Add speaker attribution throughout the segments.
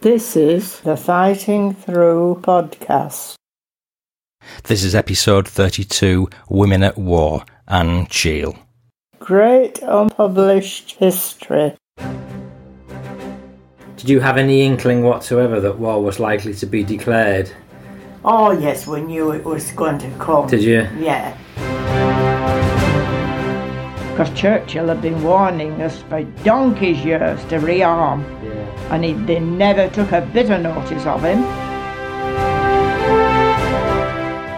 Speaker 1: This is the Fighting Through podcast.
Speaker 2: This is episode 32 Women at War, Anne Cheel.
Speaker 1: Great unpublished history.
Speaker 3: Did you have any inkling whatsoever that war was likely to be declared?
Speaker 1: Oh, yes, we knew it was going to come.
Speaker 3: Did you?
Speaker 1: Yeah. Because Churchill had been warning us for donkey's years to rearm,
Speaker 3: Yeah.
Speaker 1: and he, they never took a bit of notice of him.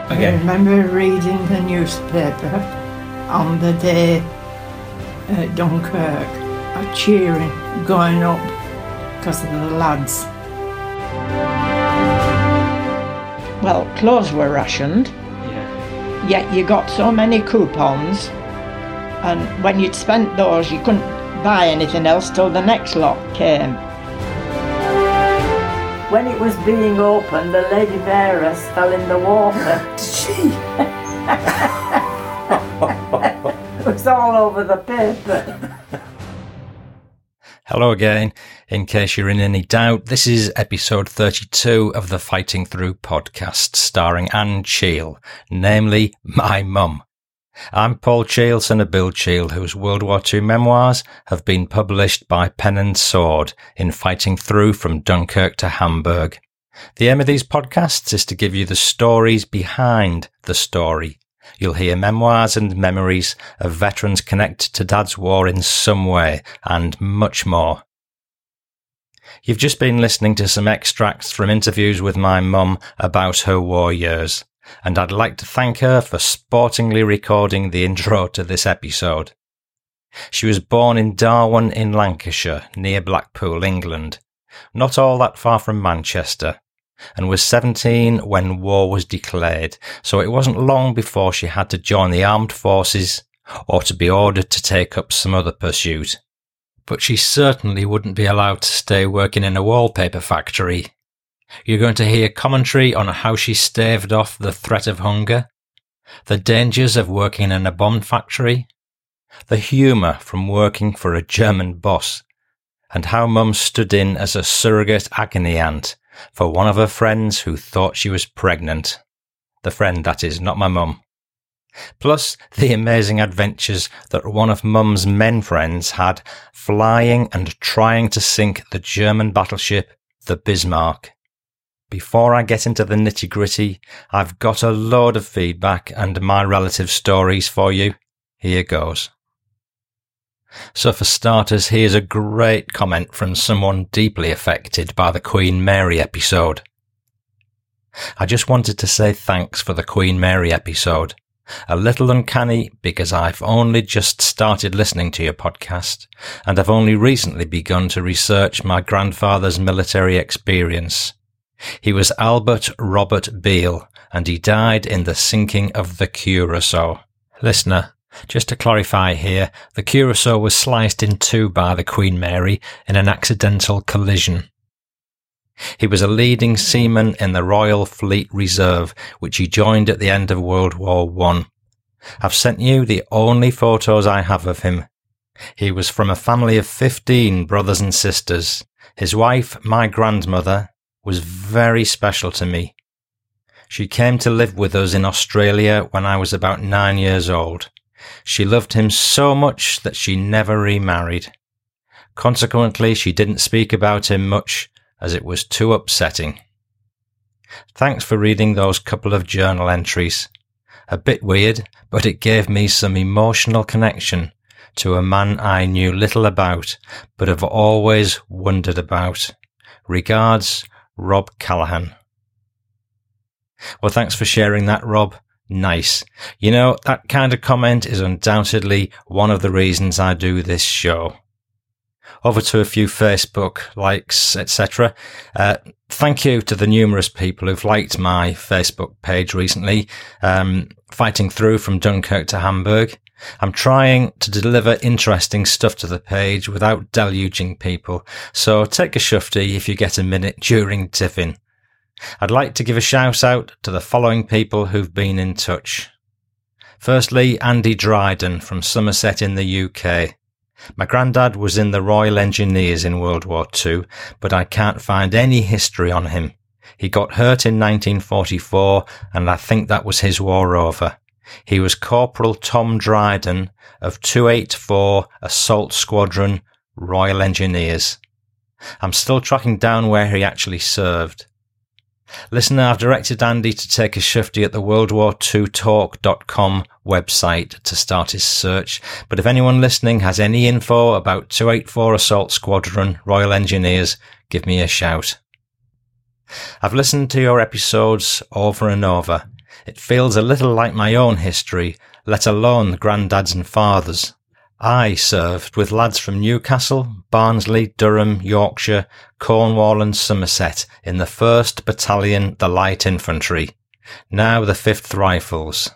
Speaker 1: I
Speaker 2: Okay.
Speaker 1: remember reading the newspaper on the day at Dunkirk, a cheering going up because of the lads. Well, clothes were rationed,
Speaker 3: yeah.
Speaker 1: yet you got so many coupons, and when you'd spent those, you couldn't buy anything else till the next lot came. When it was being opened, the Lady Bearers fell in the water.
Speaker 2: Gee.
Speaker 1: It was all over the paper.
Speaker 2: Hello again. In case you're in any doubt, this is episode 32 of the Fighting Through podcast starring Anne Cheel, namely my mum. I'm Paul Cheel, son of Bill Cheel, whose World War II memoirs have been published by Pen and Sword in Fighting Through from Dunkirk to Hamburg. The aim of these podcasts is to give you the stories behind the story. You'll hear memoirs and memories of veterans connected to Dad's War in some way, and much more. You've just been listening to some extracts from interviews with my mum about her war years, and I'd like to thank her for sportingly recording the intro to this episode. She was born in Darwen in Lancashire, near Blackpool, England, not all that far from Manchester, and was 17 when war was declared, so it wasn't long before she had to join the armed forces or to be ordered to take up some other pursuit. But she certainly wouldn't be allowed to stay working in a wallpaper factory. You're going to hear commentary on how she staved off the threat of hunger, the dangers of working in a bomb factory, the humour from working for a German boss, and how Mum stood in as a surrogate agony aunt for one of her friends who thought she was pregnant. The friend that is not my mum. Plus, the amazing adventures that one of Mum's men friends had flying and trying to sink the German battleship, the Bismarck. Before I get into the nitty gritty, I've got a load of feedback and my relative stories for you. Here goes. So, for starters, here's a great comment from someone deeply affected by the Queen Mary episode. I just wanted to say thanks for the Queen Mary episode. A little uncanny because I've only just started listening to your podcast and I've only recently begun to research my grandfather's military experience. He was Albert Robert Beale and he died in the sinking of the Curacao. Listener, just to clarify here, the Curacao was sliced in two by the Queen Mary in an accidental collision. He was a leading seaman in the Royal Fleet Reserve, which he joined at the end of World War One. I've sent you the only photos I have of him. He was from a family of 15 brothers and sisters. His wife, my grandmother, was very special to me. She came to live with us in Australia when I was about nine years old. She loved him so much that she never remarried. Consequently, she didn't speak about him much, as it was too upsetting. Thanks for reading those couple of journal entries. A bit weird, but it gave me some emotional connection to a man I knew little about, but have always wondered about. Regards, Rob Callahan. Well, thanks for sharing that, Rob. Nice. You know, that kind of comment is undoubtedly one of the reasons I do this show over to a few Facebook likes, etc. Uh, thank you to the numerous people who've liked my Facebook page recently, um, fighting through from Dunkirk to Hamburg. I'm trying to deliver interesting stuff to the page without deluging people, so take a shufty if you get a minute during tiffin. I'd like to give a shout out to the following people who've been in touch. Firstly, Andy Dryden from Somerset in the UK. My granddad was in the Royal Engineers in World War II, but I can't find any history on him. He got hurt in 1944, and I think that was his war over. He was Corporal Tom Dryden of 284 Assault Squadron, Royal Engineers. I'm still tracking down where he actually served. Listener, I've directed Andy to take a shifty at the World War II Talk.com website to start his search. But if anyone listening has any info about 284 Assault Squadron, Royal Engineers, give me a shout. I've listened to your episodes over and over. It feels a little like my own history, let alone granddads and fathers. I served with lads from Newcastle, Barnsley, Durham, Yorkshire, Cornwall, and Somerset in the 1st Battalion, the Light Infantry, now the 5th Rifles.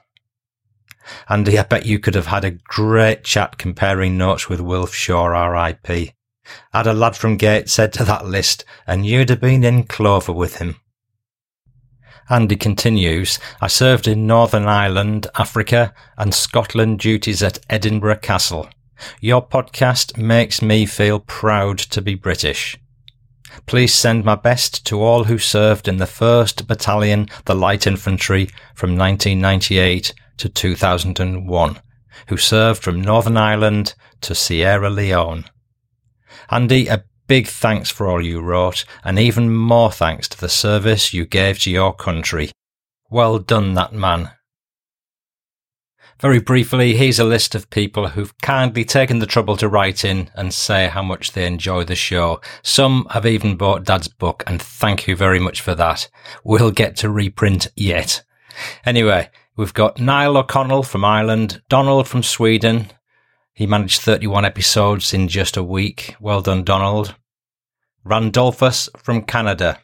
Speaker 2: Andy, I bet you could have had a great chat comparing notes with Wilf Shaw, RIP. Add a lad from Gateshead to that list, and you'd have been in clover with him. Andy continues, I served in Northern Ireland, Africa, and Scotland duties at Edinburgh Castle. Your podcast makes me feel proud to be British. Please send my best to all who served in the 1st Battalion, the Light Infantry, from 1998 to 2001, who served from Northern Ireland to Sierra Leone. Andy, a big thanks for all you wrote, and even more thanks to the service you gave to your country. Well done, that man. Very briefly, here's a list of people who've kindly taken the trouble to write in and say how much they enjoy the show. Some have even bought Dad's book, and thank you very much for that. We'll get to reprint yet. Anyway, we've got Niall O'Connell from Ireland, Donald from Sweden, he managed 31 episodes in just a week. Well done, Donald. Randolphus from Canada.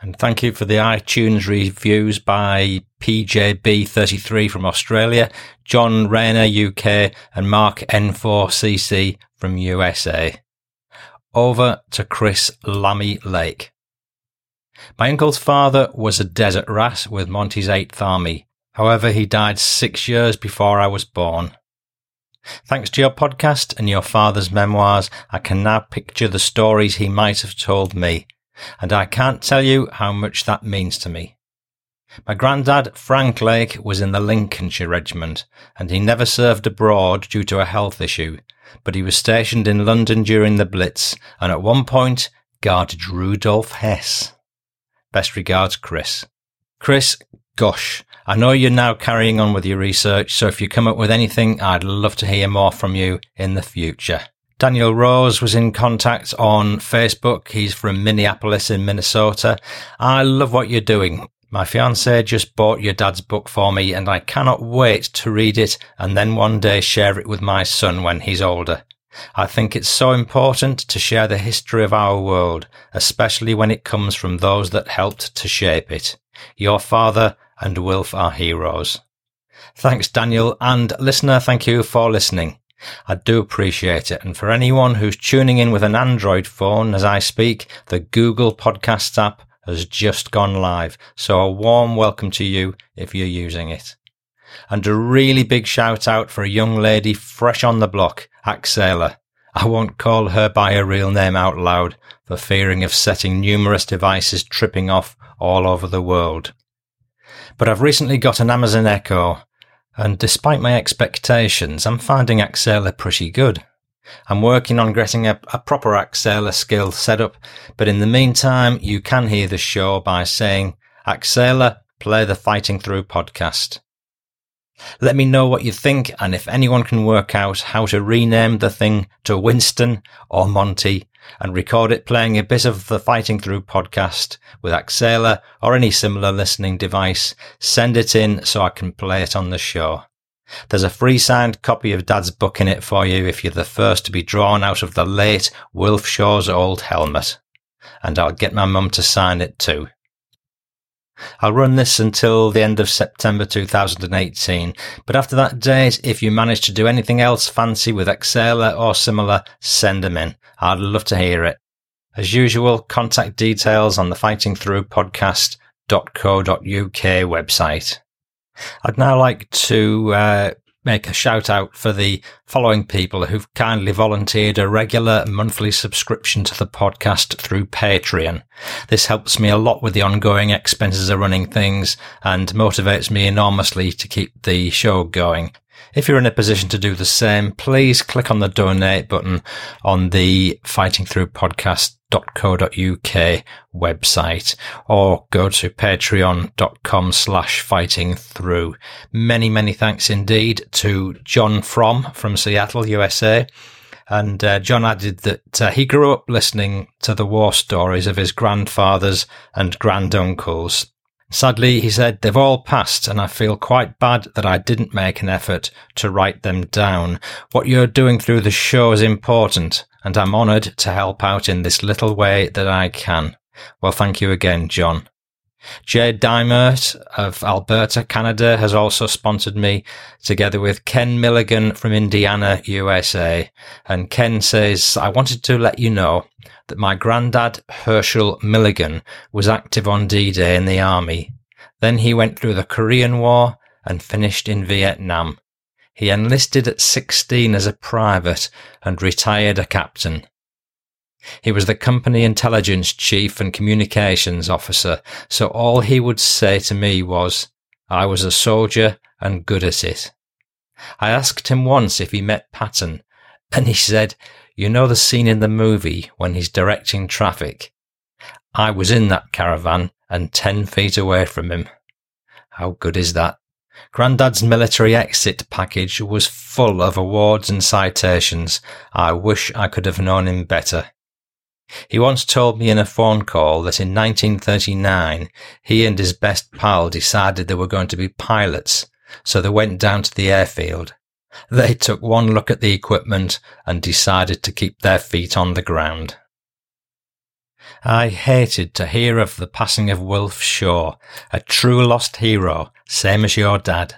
Speaker 2: And thank you for the iTunes reviews by PJB33 from Australia, John Rayner UK, and Mark N4CC from USA. Over to Chris Lammy Lake. My uncle's father was a desert rat with Monty's 8th Army. However, he died six years before I was born. Thanks to your podcast and your father's memoirs, I can now picture the stories he might have told me, and I can't tell you how much that means to me. My granddad, Frank Lake, was in the Lincolnshire Regiment, and he never served abroad due to a health issue, but he was stationed in London during the Blitz, and at one point guarded Rudolf Hess. Best regards, Chris. Chris, gosh, I know you're now carrying on with your research, so if you come up with anything, I'd love to hear more from you in the future. Daniel Rose was in contact on Facebook. He's from Minneapolis in Minnesota. I love what you're doing. My fiance just bought your dad's book for me and I cannot wait to read it and then one day share it with my son when he's older. I think it's so important to share the history of our world, especially when it comes from those that helped to shape it. Your father and Wilf are heroes. Thanks, Daniel, and listener, thank you for listening. I do appreciate it. And for anyone who's tuning in with an Android phone as I speak, the Google Podcasts app has just gone live. So a warm welcome to you if you're using it. And a really big shout out for a young lady fresh on the block, Axela. I won't call her by her real name out loud for fearing of setting numerous devices tripping off all over the world. But I've recently got an Amazon Echo, and despite my expectations, I'm finding Axela pretty good. I'm working on getting a, a proper Axela skill set up, but in the meantime, you can hear the show by saying, Axela, play the Fighting Through podcast. Let me know what you think and if anyone can work out how to rename the thing to Winston or Monty and record it playing a bit of the Fighting Through podcast with Axela or any similar listening device. Send it in so I can play it on the show. There's a free signed copy of Dad's book in it for you if you're the first to be drawn out of the late Wilf Shaw's old helmet. And I'll get my mum to sign it too. I'll run this until the end of September 2018, but after that date, if you manage to do anything else fancy with Excela or similar, send them in. I'd love to hear it. As usual, contact details on the Fighting Through podcast.co.uk website. I'd now like to uh, make a shout out for the following people who've kindly volunteered a regular monthly subscription to the podcast through Patreon. This helps me a lot with the ongoing expenses of running things and motivates me enormously to keep the show going. If you're in a position to do the same, please click on the donate button on the fightingthroughpodcast.co.uk website or go to patreon.com slash fighting through. Many, many thanks indeed to John From from Seattle, USA. And uh, John added that uh, he grew up listening to the war stories of his grandfathers and granduncles. Sadly, he said, they've all passed and I feel quite bad that I didn't make an effort to write them down. What you're doing through the show is important and I'm honoured to help out in this little way that I can. Well, thank you again, John. Jay Dimert of Alberta, Canada has also sponsored me together with Ken Milligan from Indiana, USA. And Ken says, I wanted to let you know that my granddad, Herschel Milligan, was active on D-Day in the army. Then he went through the Korean War and finished in Vietnam. He enlisted at 16 as a private and retired a captain. He was the company intelligence chief and communications officer, so all he would say to me was, I was a soldier and good at it. I asked him once if he met Patton, and he said, You know the scene in the movie when he's directing traffic? I was in that caravan and 10 feet away from him. How good is that? Grandad's military exit package was full of awards and citations. I wish I could have known him better. He once told me in a phone call that in 1939, he and his best pal decided they were going to be pilots, so they went down to the airfield. They took one look at the equipment and decided to keep their feet on the ground. I hated to hear of the passing of Wolf Shaw, a true lost hero, same as your dad.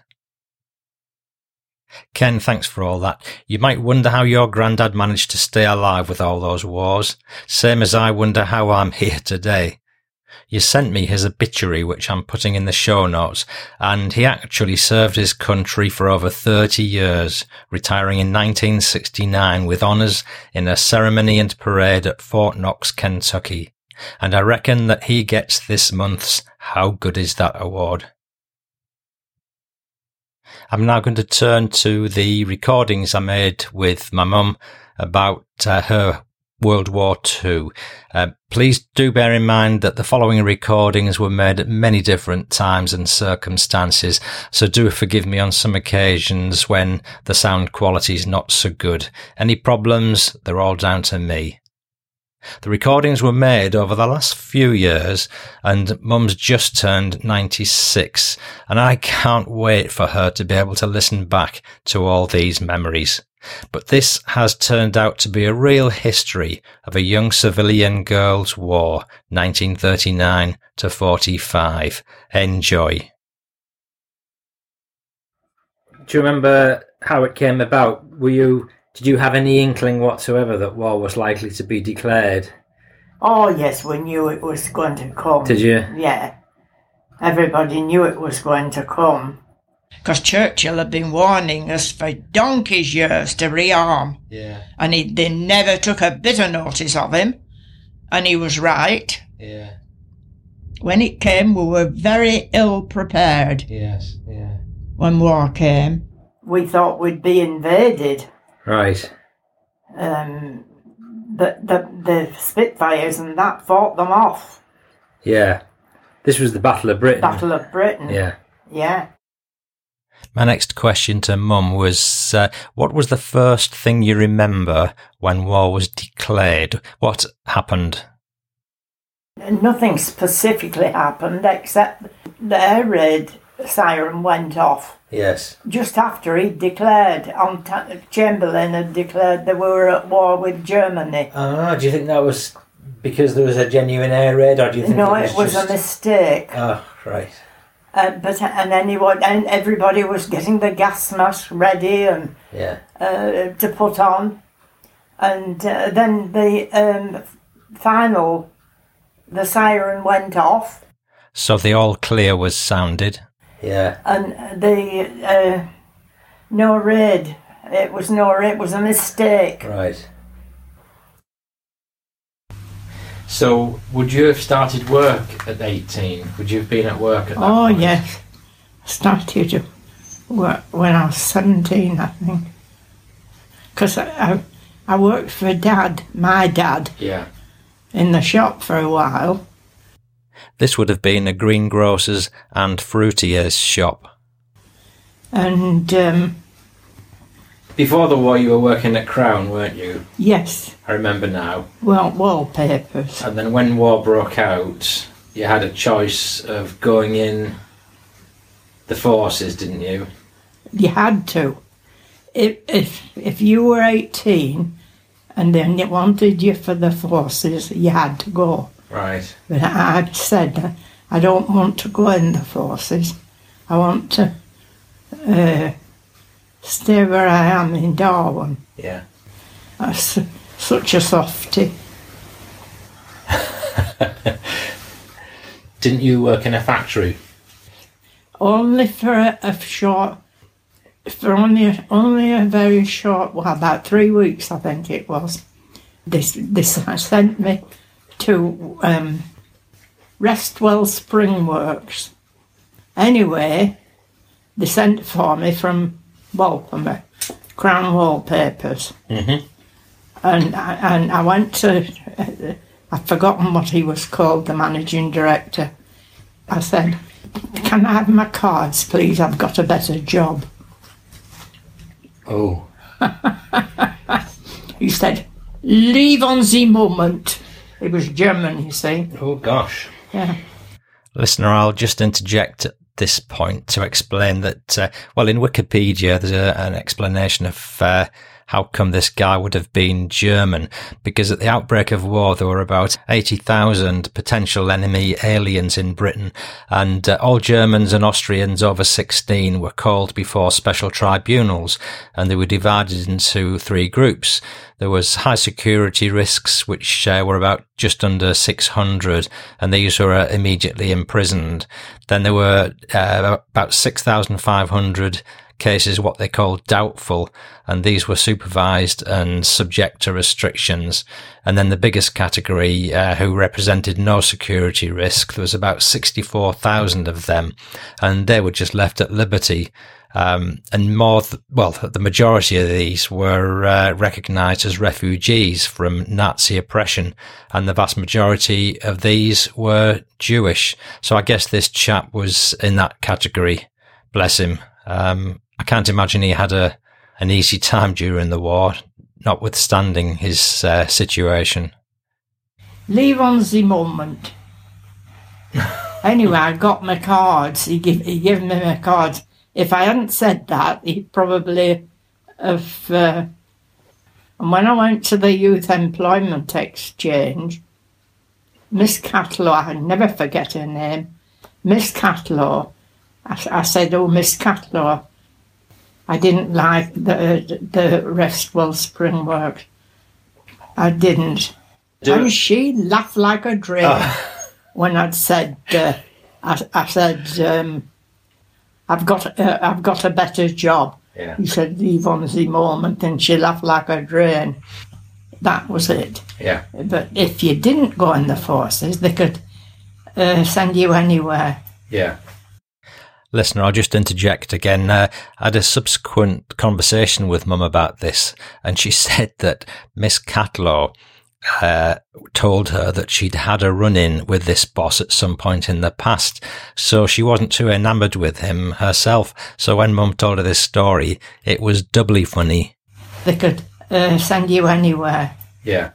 Speaker 2: Ken, thanks for all that. You might wonder how your granddad managed to stay alive with all those wars, same as I wonder how I'm here today. You sent me his obituary, which I'm putting in the show notes, and he actually served his country for over 30 years, retiring in 1969 with honours in a ceremony and parade at Fort Knox, Kentucky. And I reckon that he gets this month's How Good Is That award. I'm now going to turn to the recordings I made with my mum about uh, her World War II. Uh, please do bear in mind that the following recordings were made at many different times and circumstances, so do forgive me on some occasions when the sound quality is not so good. Any problems, they're all down to me. The recordings were made over the last few years, and Mum's just turned 96, and I can't wait for her to be able to listen back to all these memories. But this has turned out to be a real history of a young civilian girls' war, 1939 to 45. Enjoy.
Speaker 4: Do you remember how it came about? Were you did you have any inkling whatsoever that war was likely to be declared?
Speaker 5: Oh, yes, we knew it was going to come.
Speaker 4: Did you?
Speaker 5: Yeah. Everybody knew it was going to come. Because Churchill had been warning us for donkey's years to rearm.
Speaker 2: Yeah,
Speaker 5: And he, they never took a bit of notice of him. And he was right.
Speaker 2: yeah,
Speaker 5: When it came, we were very ill prepared
Speaker 2: yes, yeah.
Speaker 5: when war came. We thought we'd be invaded.
Speaker 4: Right.
Speaker 5: Um, the, the, the Spitfires and that fought them off.
Speaker 4: Yeah. This was the Battle of Britain.
Speaker 5: Battle of Britain.
Speaker 4: Yeah.
Speaker 5: Yeah.
Speaker 2: My next question to Mum was uh, What was the first thing you remember when war was declared? What happened?
Speaker 5: Nothing specifically happened except the air raid siren went off
Speaker 4: Yes.
Speaker 5: just after he declared, on Ta- Chamberlain had declared that we were at war with Germany.
Speaker 4: Ah, do you think that was because there was a genuine air raid, or do you think
Speaker 5: No, it was a mistake.
Speaker 4: Ah, right.
Speaker 5: Uh, but and anyone and everybody was getting the gas mask ready and
Speaker 4: Yeah.
Speaker 5: uh, to put on, and uh, then the um, final, the siren went off,
Speaker 2: So the all clear was sounded.
Speaker 4: Yeah.
Speaker 5: and the uh, No raid. It was no raid. It was a mistake.
Speaker 6: Right.
Speaker 7: So, would you have started work at 18? Would you have been at work at that
Speaker 5: Oh
Speaker 7: point?
Speaker 5: yes, started to work when I was seventeen, I think, because I, I I worked for Dad, my dad,
Speaker 7: Yeah.
Speaker 5: in the shop for a while.
Speaker 2: This would have been a greengrocer's and fruitier's shop.
Speaker 5: And um,
Speaker 7: Before the war, you were working at Crown, weren't you?
Speaker 5: yes,
Speaker 7: I remember now.
Speaker 5: well, wallpapers.
Speaker 7: And then when war broke out, you had a choice of going in the forces, didn't you?
Speaker 5: You had to. If if if you were eighteen, and then they wanted you for the forces, you had to go.
Speaker 7: Right.
Speaker 5: But I I said, I don't want to go in the forces. I want to uh, stay where I am in Darwin.
Speaker 7: Yeah.
Speaker 5: That's such a softie.
Speaker 7: Didn't you work in a factory?
Speaker 5: Only for a, a short, for only a, only a very short, well, about three weeks, I think it was. This this sent me to um, Restwell Spring Works. Anyway, they sent for me from Walpamer, Crown Wallpapers. And I, and I went to, I've forgotten what he was called, the managing director. I said, Can I have my cards, please? I've got a better job.
Speaker 7: Oh.
Speaker 5: He said, Leave on the moment. It was German, you see.
Speaker 7: Oh, gosh.
Speaker 5: Yeah.
Speaker 2: Listener, I'll just interject at this point to explain that, uh, well, in Wikipedia, there's a, an explanation of uh, how come this guy would have been German, because at the outbreak of war, there were about 80,000 potential enemy aliens in Britain, and uh, all Germans and Austrians over 16 were called before special tribunals, and they were divided into three groups. There was high security risks, which uh, were about just under 600, and these were uh, immediately imprisoned. Then there were uh, about 6,500 cases, what they called doubtful, and these were supervised and subject to restrictions. And then the biggest category, uh, who represented no security risk, there was about 64,000 of them, and they were just left at liberty. Um, and more, th- well, the majority of these were uh, recognized as refugees from Nazi oppression, and the vast majority of these were Jewish. So I guess this chap was in that category. Bless him. Um, I can't imagine he had a an easy time during the war, notwithstanding his uh, situation.
Speaker 5: Leave on the moment. anyway, I got my cards. He gave, he gave me my cards. If I hadn't said that, he probably have. Uh, and when I went to the Youth Employment Exchange, Miss Catlow, I never forget her name, Miss Catlow, I, s- I said, Oh, Miss Catlow, I didn't like the, the Restwell Spring Works. I didn't and she laughed like a dream when I'd said, uh, I, I said, um, I've got, uh, I've got a better job.
Speaker 7: Yeah.
Speaker 5: He said, leave on the moment, and she laughed like a drain. That was it.
Speaker 7: Yeah.
Speaker 5: But if you didn't go in the forces, they could uh, send you anywhere.
Speaker 7: Yeah.
Speaker 2: Listener, I'll just interject again. Uh, I had a subsequent conversation with Mum about this, and she said that Miss Catlow uh, told her that she'd had a run in with this boss at some point in the past, so she wasn't too enamoured with him herself. So when Mum told her this story, it was doubly funny.
Speaker 5: They could uh, send you anywhere.
Speaker 7: Yeah.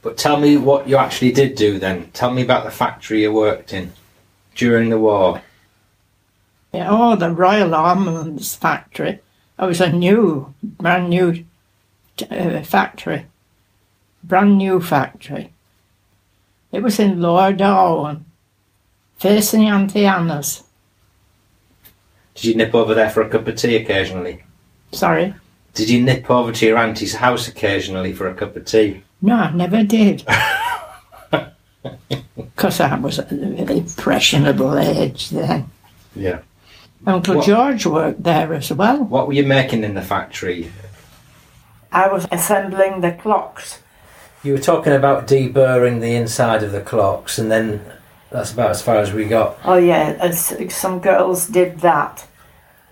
Speaker 7: But tell me what you actually did do then. Tell me about the factory you worked in during the war.
Speaker 5: Yeah, oh, the Royal Armaments Factory. It was a new, brand new t- uh, factory. Brand new factory. It was in Lower Darwin, facing Auntie Anna's.
Speaker 7: Did you nip over there for a cup of tea occasionally?
Speaker 5: Sorry.
Speaker 7: Did you nip over to your auntie's house occasionally for a cup of tea?
Speaker 5: No, I never did. Because I was at an impressionable age then.
Speaker 7: Yeah.
Speaker 5: Uncle
Speaker 8: What-
Speaker 5: George worked there as well.
Speaker 8: What were you making in the factory?
Speaker 5: I was assembling the clocks.
Speaker 2: You were talking about deburring the inside of the clocks, and then that's about as far as we got.
Speaker 5: Oh yeah, as some girls did that,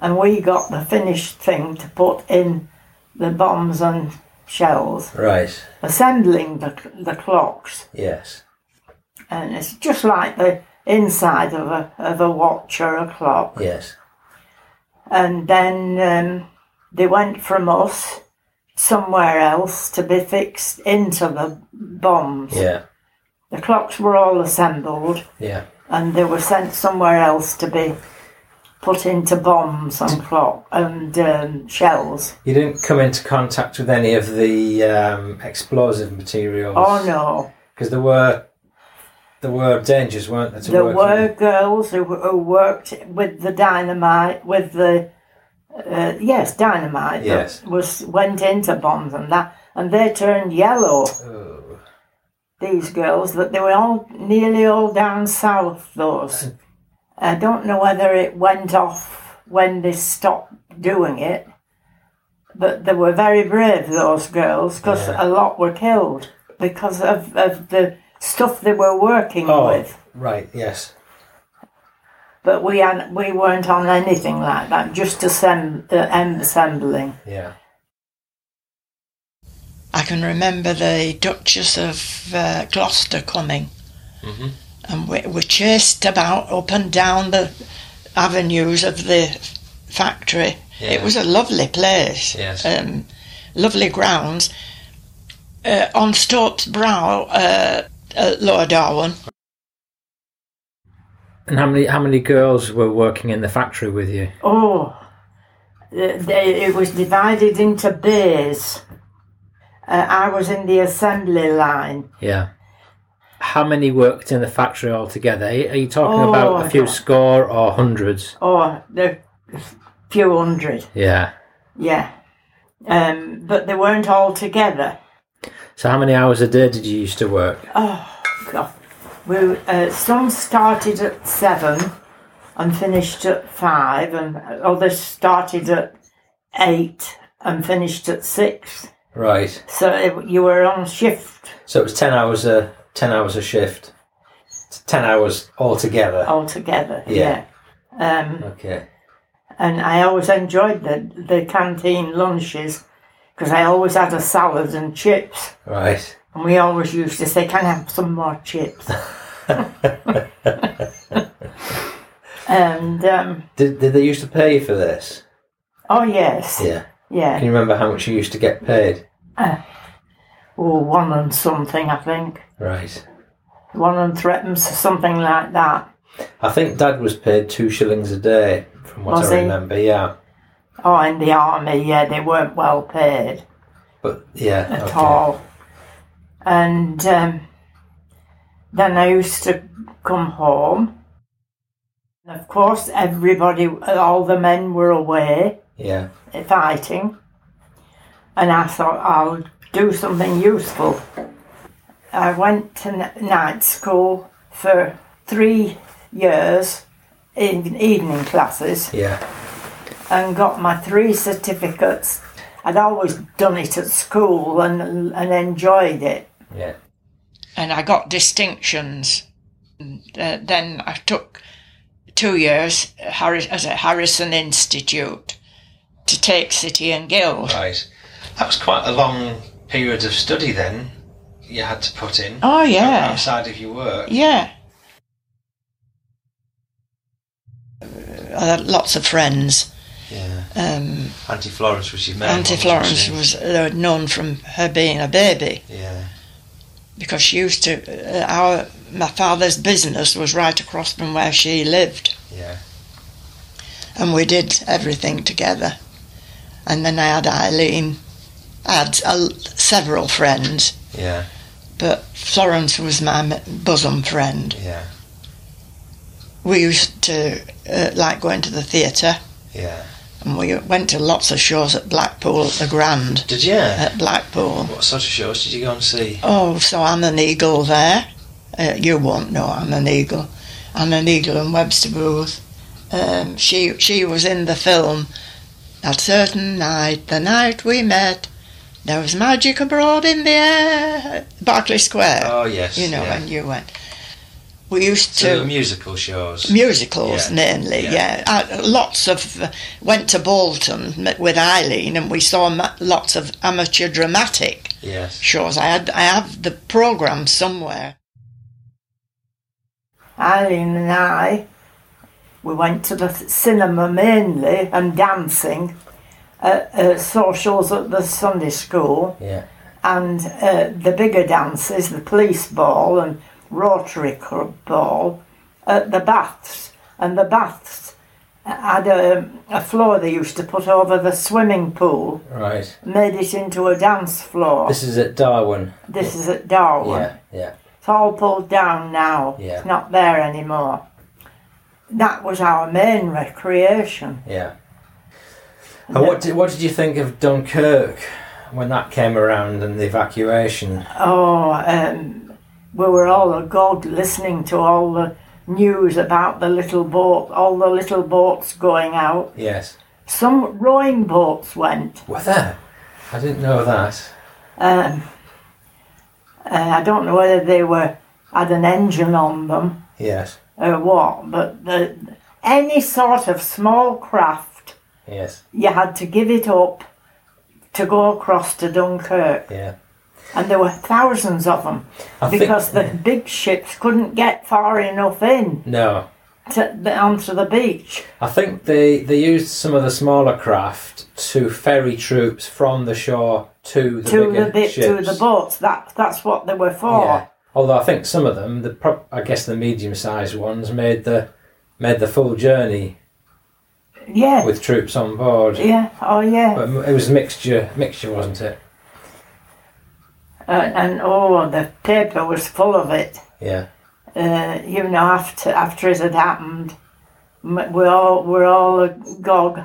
Speaker 5: and we got the finished thing to put in the bombs and shells,
Speaker 2: Right.
Speaker 5: assembling the the clocks,
Speaker 2: Yes.
Speaker 5: and it's just like the inside of a of a watch or a clock.
Speaker 2: Yes.
Speaker 5: And then um, they went from us somewhere else to be fixed into the bombs.
Speaker 2: Yeah.
Speaker 5: The clocks were all assembled,
Speaker 2: Yeah.
Speaker 5: and they were sent somewhere else to be put into bombs and clock and um, shells.
Speaker 2: You didn't come into contact with any of the um, explosive materials.
Speaker 5: Oh no,
Speaker 2: Because there were there were dangers, weren't there? To
Speaker 5: there
Speaker 2: working
Speaker 5: were
Speaker 2: with?
Speaker 5: girls who, who worked with the dynamite, with the uh, yes, dynamite. that
Speaker 2: Yes.
Speaker 5: was went into bombs and that, and they turned yellow.
Speaker 2: Oh.
Speaker 5: These girls, that they were all nearly all down south. Those, I don't know whether it went off when they stopped doing it. But they were very brave, those girls, because
Speaker 2: Yeah.
Speaker 5: a lot were killed because of, of the stuff they were working
Speaker 2: Oh,
Speaker 5: with.
Speaker 2: right. Yes.
Speaker 5: But we had, we weren't on anything like that, just assemb- uh, em- assembling.
Speaker 2: Yeah.
Speaker 9: I can remember the Duchess of uh, Gloucester coming,
Speaker 2: Mm-hmm.
Speaker 9: and we were chased about up and down the avenues of the factory. It
Speaker 2: Yeah.
Speaker 9: was a lovely place,
Speaker 2: Yes.
Speaker 9: um, lovely grounds. Uh, on Stokes Brow uh, at Lower Darwin,
Speaker 2: And how many how many girls were working in the factory with you?
Speaker 5: Oh, uh, they, it was divided into bays. Uh, I was in the assembly line.
Speaker 2: Yeah. How many worked in the factory altogether? Are you- are you talking
Speaker 5: Oh,
Speaker 2: about
Speaker 5: I
Speaker 2: a few
Speaker 5: don't-
Speaker 2: score or hundreds?
Speaker 5: Oh, the few hundred,
Speaker 2: Yeah.
Speaker 5: yeah. Um, but they weren't all together.
Speaker 2: So how many hours a day did you used to work?
Speaker 5: God. We uh, some started at seven and finished at five, and others started at eight and finished at six.
Speaker 2: Right.
Speaker 5: So it, you were on shift
Speaker 2: So it was ten hours a ten hours a shift. It's ten hours altogether.
Speaker 5: altogether.
Speaker 2: Yeah.
Speaker 5: yeah. Um,
Speaker 2: Okay.
Speaker 5: and I always enjoyed the the canteen lunches because I always had a salad and chips.
Speaker 2: Right.
Speaker 5: And we always used to say, Can I have some more chips? and, um,
Speaker 2: Did, did they used to pay you for this?
Speaker 5: oh, yes.
Speaker 2: Yeah. Can
Speaker 5: Yeah.
Speaker 2: you remember how much you used to get paid?
Speaker 5: Oh, one and something, I think.
Speaker 2: Right.
Speaker 5: One and threepence, something like that.
Speaker 2: I think Dad was paid two shillings a day, from what
Speaker 5: Was
Speaker 2: I
Speaker 5: he?
Speaker 2: remember. Yeah.
Speaker 5: Oh, in the army, yeah, they weren't well paid
Speaker 2: But yeah.
Speaker 5: at
Speaker 2: okay.
Speaker 5: all. And um, then I used to come home. And of course, everybody, all the men were away.
Speaker 2: Yeah.
Speaker 5: fighting, and I thought I'll do something useful. I went to n- night school for three years in evening classes
Speaker 2: Yeah.
Speaker 5: and got my three certificates. I'd always done it at school and, and enjoyed it.
Speaker 2: Yeah.
Speaker 9: and I got distinctions. Uh, then I took two years at Harris, as a Harrison Institute to take City and Guild.
Speaker 10: Right. That was quite a long period of study then you had to put in
Speaker 9: Oh yeah,
Speaker 10: outside of your work.
Speaker 9: yeah. I had lots of friends.
Speaker 10: Yeah.
Speaker 9: Um,
Speaker 10: Auntie Florence was your main one,
Speaker 9: Auntie
Speaker 10: wasn't
Speaker 9: Florence
Speaker 10: she?
Speaker 9: was uh, known from her being a baby
Speaker 10: Yeah.
Speaker 9: because she used to. Uh, our my father's business was right across from where she lived,
Speaker 10: Yeah.
Speaker 9: and we did everything together. And then I had Eileen. I had uh, several friends,
Speaker 10: Yeah.
Speaker 9: but Florence was my m- bosom friend.
Speaker 10: Yeah.
Speaker 9: we used to uh, like going to the theatre
Speaker 10: Yeah.
Speaker 9: and we went to lots of shows at Blackpool at the Grand
Speaker 10: Did you?
Speaker 5: Uh,
Speaker 9: at Blackpool.
Speaker 10: What sort of shows did you go and see?
Speaker 9: Oh, so I'm an eagle there. Uh, you won't know I'm an eagle. I'm an eagle and Webster Booth.
Speaker 11: um, she she was in the film. That certain night, the night we met, there was magic abroad in the air. Berkeley Square,
Speaker 12: Oh yes,
Speaker 11: you know,
Speaker 12: yeah.
Speaker 11: and you went. We used
Speaker 12: so the
Speaker 11: to
Speaker 12: musical shows.
Speaker 11: musicals
Speaker 12: Yeah,
Speaker 11: mainly,
Speaker 12: yeah.
Speaker 11: yeah. Uh, lots of went to Bolton m- with Eileen, and we saw ma- lots of amateur dramatic
Speaker 12: yes,
Speaker 11: shows. I had I have the program somewhere.
Speaker 5: Eileen and I, we went to the cinema mainly and dancing at uh, socials at the Sunday school
Speaker 2: Yeah.
Speaker 5: and uh, the bigger dances, the police ball and Rotary Club ball at the baths. And the baths had a, a floor they used to put over the swimming pool,
Speaker 2: Right.
Speaker 5: made it into a dance floor.
Speaker 2: This is at Darwin.
Speaker 5: This is at Darwin.
Speaker 2: Yeah. Yeah.
Speaker 5: It's all pulled down now.
Speaker 2: Yeah.
Speaker 5: It's not there anymore. That was our main recreation.
Speaker 2: Yeah. And what did, what did you think of Dunkirk when that came around and the evacuation?
Speaker 5: Oh, um, we were all agog listening to all the news about the little boat, all the little boats going out.
Speaker 2: Yes.
Speaker 5: Some rowing boats went.
Speaker 2: Were there? I didn't know that.
Speaker 5: Um, uh, I don't know whether they were had an engine on them.
Speaker 2: Yes.
Speaker 5: or what, but the, any sort of small craft,
Speaker 2: Yes.
Speaker 5: you had to give it up to go across to Dunkirk.
Speaker 2: Yeah.
Speaker 5: And there were thousands of them
Speaker 2: I think-
Speaker 5: because the big ships couldn't get far enough in
Speaker 2: No.
Speaker 5: to, onto the beach.
Speaker 2: I think they, they used some of the smaller craft to ferry troops from the shore to the
Speaker 5: To
Speaker 2: bigger
Speaker 5: the bit, to
Speaker 2: ships.
Speaker 5: the boats. That that's what they were for.
Speaker 2: Yeah. Although I think some of them, the pro- I guess the medium-sized ones, made the made the full journey
Speaker 5: Yeah.
Speaker 2: with troops on board.
Speaker 5: yeah. Oh yeah.
Speaker 2: But it was mixture, mixture, wasn't it?
Speaker 5: and, and oh, the paper was full of it.
Speaker 2: Yeah,
Speaker 5: uh, you know, after after it had happened, m- we're all we're all agog.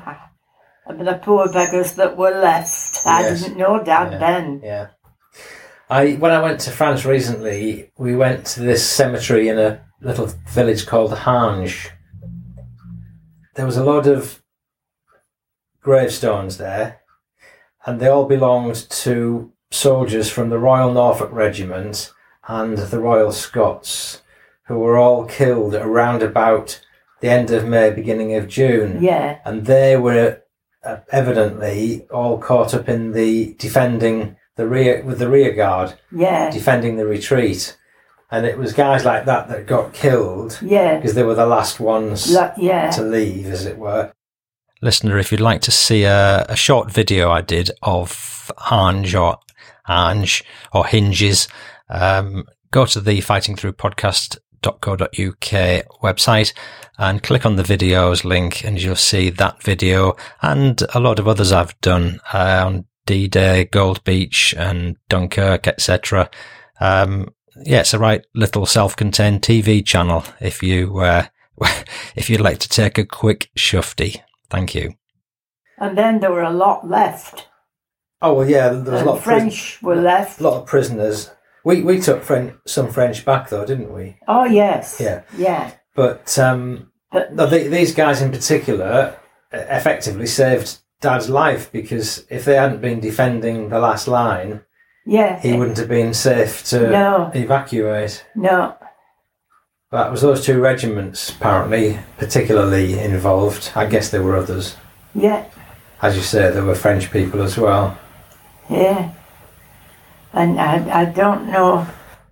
Speaker 5: The poor beggars that were left. I
Speaker 2: Yes.
Speaker 5: didn't know Dad
Speaker 2: Yeah.
Speaker 5: then.
Speaker 2: yeah. I when I went to France recently, we went to this cemetery in a little village called Hange. There was a lot of gravestones there, and they all belonged to soldiers from the Royal Norfolk Regiment and the Royal Scots, who were all killed around about the end of May, beginning of June.
Speaker 5: Yeah,
Speaker 2: and they were uh, evidently all caught up in the defending the rear with the rear guard
Speaker 5: yeah,
Speaker 2: defending the retreat and it was guys like that that got killed
Speaker 5: yeah,
Speaker 2: because they were the last ones
Speaker 5: Lo- yeah.
Speaker 2: to leave as it were
Speaker 13: Listener, if you'd like to see a, a short video I did of Ange or Ange or Hinges, um, go to the Fighting Through podcast.co.uk website and click on the videos link and you'll see that video and a lot of others I've done uh, on D-Day, Gold Beach and Dunkirk, etc. Um, yeah, it's a right little self-contained TV channel if you, uh, if you'd like to take a quick shufty. Thank you.
Speaker 5: And then there were a lot left.
Speaker 2: oh well yeah there was a
Speaker 5: And
Speaker 2: lot of, pris-
Speaker 5: French were left.
Speaker 2: lot of prisoners we we took Fren- some french back though didn't we
Speaker 5: Oh yes.
Speaker 2: Yeah.
Speaker 5: Yeah.
Speaker 2: but um
Speaker 5: But-
Speaker 2: no, the, these guys in particular uh, effectively saved dad's life because if they hadn't been defending the last line
Speaker 5: Yeah.
Speaker 2: he uh, wouldn't have been safe to
Speaker 5: No.
Speaker 2: evacuate.
Speaker 5: No.
Speaker 2: But it was those two regiments apparently particularly involved. I guess there were others.
Speaker 5: Yeah.
Speaker 2: As you say, there were French people as well.
Speaker 5: Yeah. And I, I don't know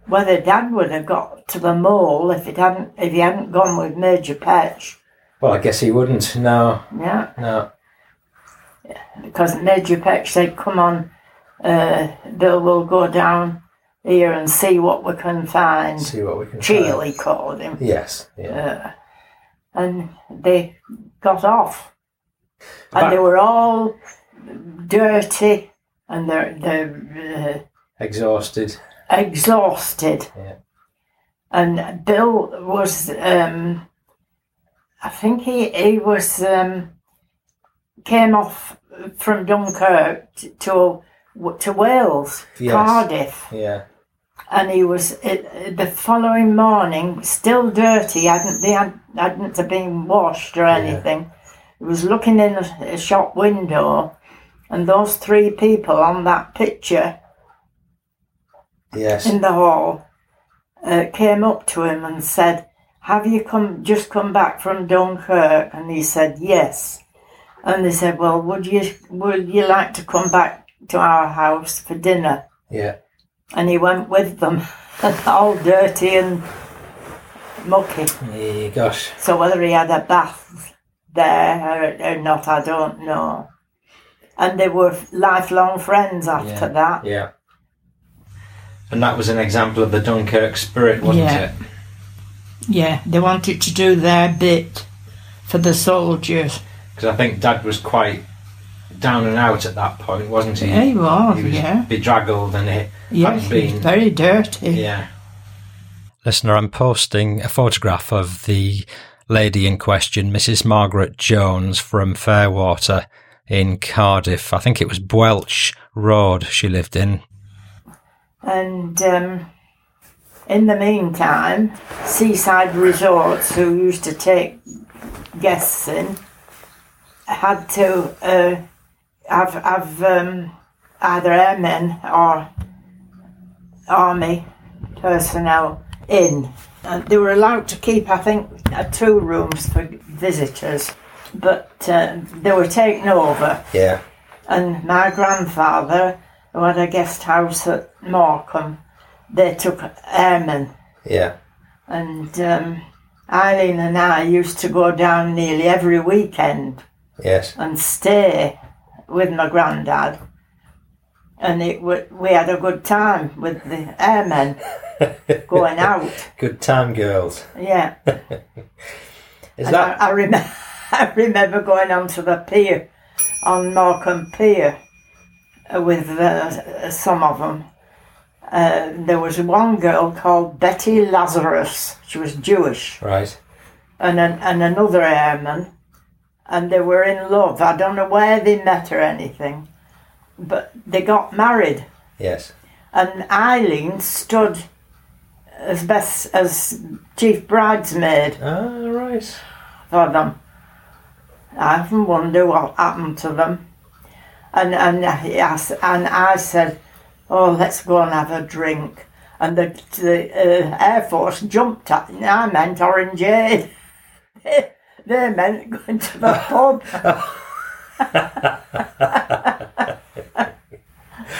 Speaker 5: whether Dad would have got to the mall if it hadn't if he hadn't gone with Major Patch.
Speaker 2: Well, I guess he wouldn't. No,
Speaker 5: Yeah.
Speaker 2: no.
Speaker 5: because Major Peck said, "Come on, uh, Bill, we'll go down here and see what we can find."
Speaker 2: See what we can.
Speaker 5: Cheel,
Speaker 2: find.
Speaker 5: he called him,
Speaker 2: Yes.
Speaker 5: uh,
Speaker 2: Yeah.
Speaker 5: and they got off, and
Speaker 2: Back-
Speaker 5: they were all dirty and they're they're
Speaker 2: Exhausted.
Speaker 5: uh, exhausted.
Speaker 2: Yeah.
Speaker 5: And Bill was, um, I think he he was um, came off from Dunkirk t- to to Wales,
Speaker 2: Yes.
Speaker 5: Cardiff,
Speaker 2: Yeah.
Speaker 5: and he was it, it- the following morning still dirty. Hadn't they had, hadn't been washed or anything. He was looking in a, a shop window, and those three people on that picture
Speaker 14: Yes.
Speaker 5: in the hall uh, came up to him and said, "Have you come just come back from Dunkirk?" And he said, "Yes." And they said, "Well, would you would you like to come back to our house for dinner?"
Speaker 14: Yeah.
Speaker 5: and he went with them, all dirty and mucky.
Speaker 14: Eh, Gosh.
Speaker 5: So whether he had a bath there or, or not, I don't know. And they were lifelong friends after
Speaker 14: Yeah.
Speaker 5: that.
Speaker 14: Yeah.
Speaker 2: And that was an example of the Dunkirk spirit, wasn't
Speaker 5: Yeah.
Speaker 2: it?
Speaker 5: Yeah, they wanted to do their bit for the soldiers.
Speaker 2: Because I think Dad was quite down and out at that point, wasn't he?
Speaker 5: Yeah, he was,
Speaker 2: He was
Speaker 5: yeah.
Speaker 2: bedraggled and it
Speaker 5: Yeah,
Speaker 2: had
Speaker 5: he was
Speaker 2: been.
Speaker 5: very dirty.
Speaker 2: Yeah.
Speaker 15: Listener, I'm posting a photograph of the lady in question, Mrs. Margaret Jones from Fairwater in Cardiff. I think it was Bwelch Road she lived in.
Speaker 5: And um, in the meantime, Seaside Resorts, who used to take guests in, had to uh, have have um, either airmen or army personnel in. And they were allowed to keep, I think, uh, two rooms for visitors, but uh, they were taken over
Speaker 14: Yeah.
Speaker 5: and my grandfather, who had a guest house at Morecambe, they took airmen.
Speaker 14: Yeah.
Speaker 5: And um, Eileen and I used to go down nearly every weekend
Speaker 14: Yes.
Speaker 5: and stay with my granddad. And it wa we had a good time with the airmen going out.
Speaker 14: Good time, girls.
Speaker 5: Yeah.
Speaker 14: Is
Speaker 5: And I,
Speaker 14: that?
Speaker 5: I, remember, I remember going onto the pier, on Morecambe Pier, uh, with uh, some of them. Uh, there was one girl called Betty Lazarus. She was Jewish,
Speaker 14: Right.
Speaker 5: and an, and another airman, and they were in love. I don't know where they met or anything, but they got married.
Speaker 14: Yes.
Speaker 5: And Eileen stood as best as chief bridesmaid
Speaker 14: Ah, right.
Speaker 5: for them. I often wonder what happened to them. And and I, asked- and I said, "Oh, let's go and have a drink." And the, the uh, Air Force jumped at me. I meant orangeade. they meant going to the pub.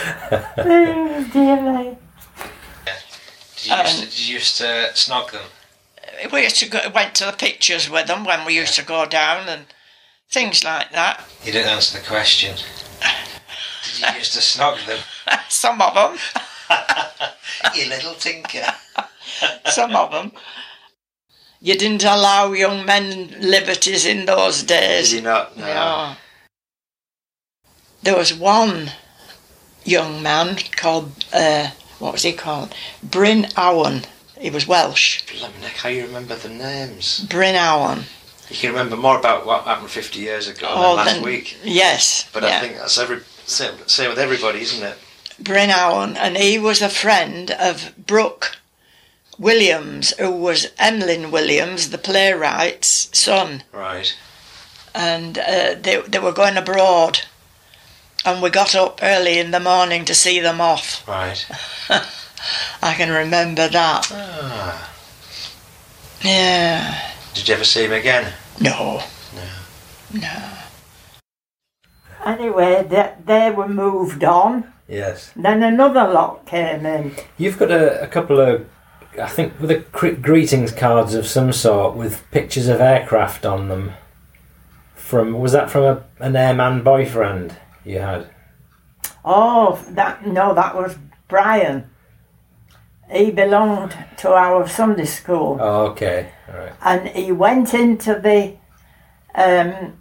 Speaker 5: oh, dear me.
Speaker 2: Did you, used to, did you used to snog them?
Speaker 16: We used to go, went to the pictures with them when we used to go down and things like that.
Speaker 2: You didn't answer the question. Did you used to snog them?
Speaker 16: Some of them,
Speaker 2: You little tinker.
Speaker 16: some of them. You didn't allow young men liberties in those days.
Speaker 2: Did you not? No.
Speaker 16: Yeah. There was one young man called, uh, what was he called? Bryn Owen. He was Welsh.
Speaker 2: Blimey, Nick, how you remember the names?
Speaker 16: Bryn Owen.
Speaker 2: You can remember more about what happened 50 years ago
Speaker 16: Oh,
Speaker 2: than last
Speaker 16: then-
Speaker 2: week.
Speaker 16: Yes.
Speaker 2: But I
Speaker 16: yeah.
Speaker 2: think that's every same, same with everybody, isn't it?
Speaker 16: Bryn Owen, and he was a friend of Brooke Williams, who was Emlyn Williams, the playwright's son.
Speaker 2: Right.
Speaker 16: and uh, they, they were going abroad. And we got up early in the morning to see them off.
Speaker 2: Right.
Speaker 16: I can remember that.
Speaker 2: Ah.
Speaker 16: Yeah.
Speaker 2: Did you ever see him again?
Speaker 16: No.
Speaker 5: Anyway, they, they were moved on.
Speaker 14: Yes.
Speaker 5: Then another lot came in.
Speaker 14: You've got a, a couple of, I think, with the cre- greetings cards of some sort with pictures of aircraft on them. From was that from a, an airman boyfriend you had?
Speaker 5: Oh, that no, that was Brian. He belonged to our Sunday school,
Speaker 14: Oh, okay, all right.
Speaker 5: and he went into the um,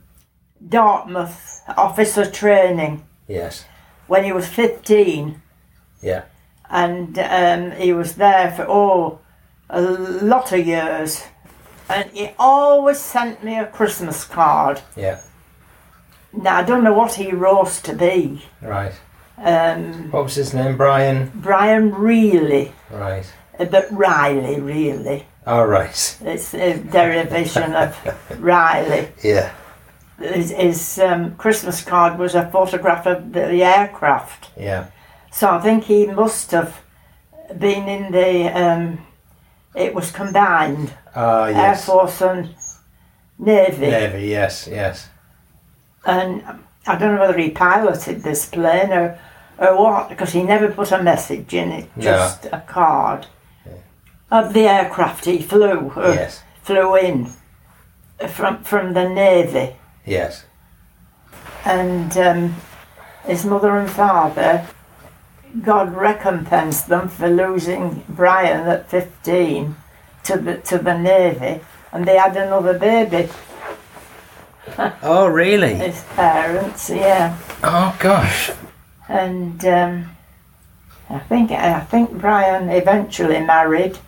Speaker 5: Dartmouth officer training
Speaker 14: Yes,
Speaker 5: when he was fifteen,
Speaker 14: yeah,
Speaker 5: and um, he was there for oh, a lot of years, and he always sent me a Christmas card.
Speaker 14: yeah,
Speaker 5: Now I don't know what he rose to be.
Speaker 14: right.
Speaker 5: um,
Speaker 3: What was his name? Brian.
Speaker 5: Brian Reilly,
Speaker 3: Right.
Speaker 5: uh, but Riley, really.
Speaker 14: Oh,
Speaker 3: All right.
Speaker 5: It's a derivation of Riley.
Speaker 3: Yeah.
Speaker 5: His, his um, Christmas card was a photograph of the, the aircraft.
Speaker 3: Yeah.
Speaker 5: So I think he must have been in the. Um, it was combined
Speaker 3: Ah,
Speaker 5: Air
Speaker 3: yes.
Speaker 5: Force and Navy.
Speaker 3: Navy. Yes. Yes.
Speaker 5: And I don't know whether he piloted this plane or, or what, because he never put a message in it,
Speaker 3: No.
Speaker 5: just a card of the aircraft he flew, uh,
Speaker 3: Yes.
Speaker 5: flew in uh, from, from the Navy.
Speaker 3: Yes.
Speaker 5: And um, his mother and father, God recompensed them for losing Brian at 15 to the, to the Navy, and they had another baby,
Speaker 2: Oh, really?
Speaker 5: his parents, yeah.
Speaker 2: Oh, gosh.
Speaker 5: and um, I think I think Brian eventually married.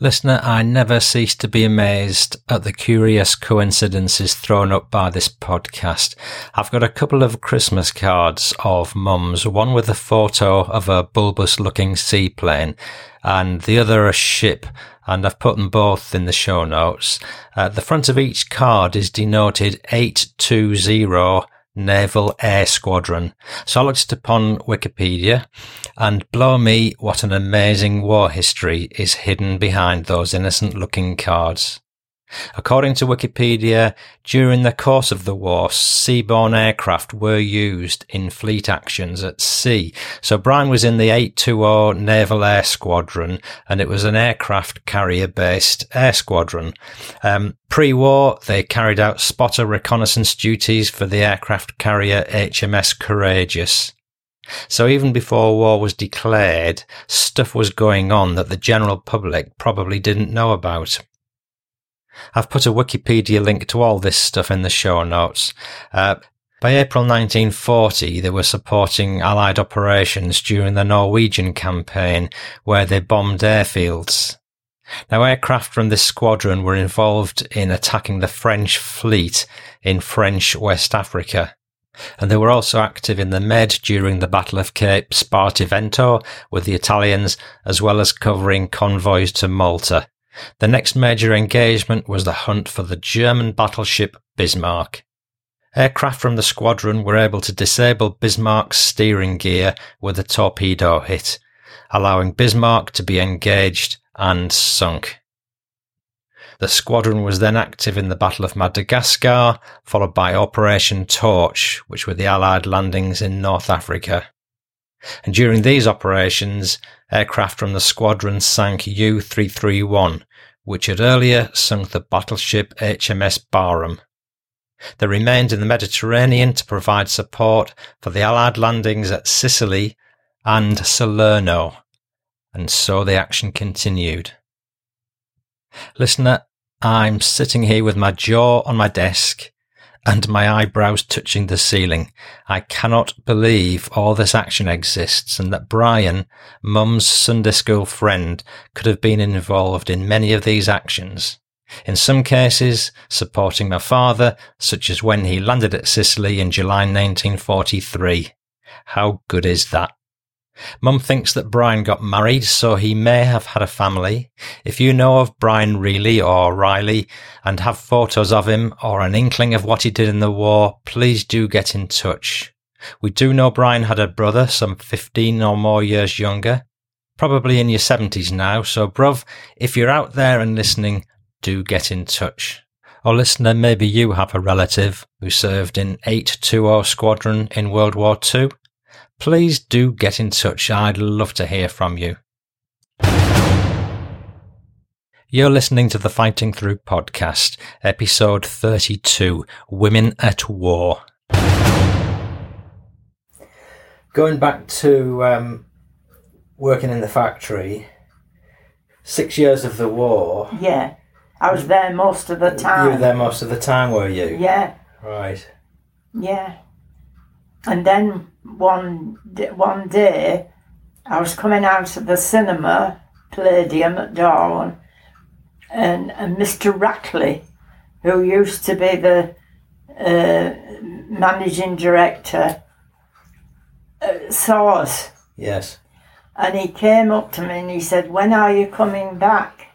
Speaker 2: Listener, I never cease to be amazed at the curious coincidences thrown up by this podcast. I've got a couple of Christmas cards of mums, one with a photo of a bulbous looking seaplane and the other a ship, and I've put them both in the show notes. At the front of each card is denoted 820 Naval Air Squadron. So I looked it upon Wikipedia, and blow me, what an amazing war history is hidden behind those innocent looking cards. According to Wikipedia, during the course of the war, seaborne aircraft were used in fleet actions at sea. So Brian was in the 820 Naval Air Squadron, and it was an aircraft carrier based air squadron. Um, Pre war, they carried out spotter reconnaissance duties for the aircraft carrier HMS Courageous. So even before war was declared, stuff was going on that the general public probably didn't know about. I've put a Wikipedia link to all this stuff in the show notes. Uh, by April 1940, they were supporting Allied operations during the Norwegian campaign, where they bombed airfields. Now, aircraft from this squadron were involved in attacking the French fleet in French West Africa and they were also active in the Med during the Battle of Cape Spartivento with the Italians, as well as covering convoys to Malta. The next major engagement was the hunt for the German battleship Bismarck. Aircraft from the squadron were able to disable Bismarck's steering gear with a torpedo hit, allowing Bismarck to be engaged and sunk. The squadron was then active in the Battle of Madagascar, followed by Operation Torch, which were the Allied landings in North Africa. And during these operations, aircraft from the squadron sank U 331, which had earlier sunk the battleship HMS Barham. They remained in the Mediterranean to provide support for the Allied landings at Sicily and Salerno. And so the action continued. Listener, I'm sitting here with my jaw on my desk and my eyebrows touching the ceiling. I cannot believe all this action exists and that Brian, mum's Sunday school friend, could have been involved in many of these actions. In some cases, supporting my father, such as when he landed at Sicily in July 1943. How good is that? Mum thinks that Brian got married, so he may have had a family. If you know of Brian Reilly or Riley and have photos of him or an inkling of what he did in the war, please do get in touch. We do know Brian had a brother some 15 or more years younger, probably in your 70s now, so bruv, if you're out there and listening, do get in touch. Or listener, maybe you have a relative who served in 820 Squadron in World War II please do get in touch. I'd love to hear from you. You're listening to the Fighting Through podcast, episode 32 Women at War.
Speaker 3: Going back to um, working in the factory. Six years of the war.
Speaker 5: Yeah, I was there most of the time.
Speaker 3: You were there most of the time, were you?
Speaker 5: Yeah,
Speaker 3: Right.
Speaker 5: yeah. And then one d- one day, I was coming out of the cinema, Palladium at Darwin, and, and Mr. Rackley, who used to be the uh, managing director uh, sauce.
Speaker 3: Yes.
Speaker 5: And he came up to me and he said, When are you coming back?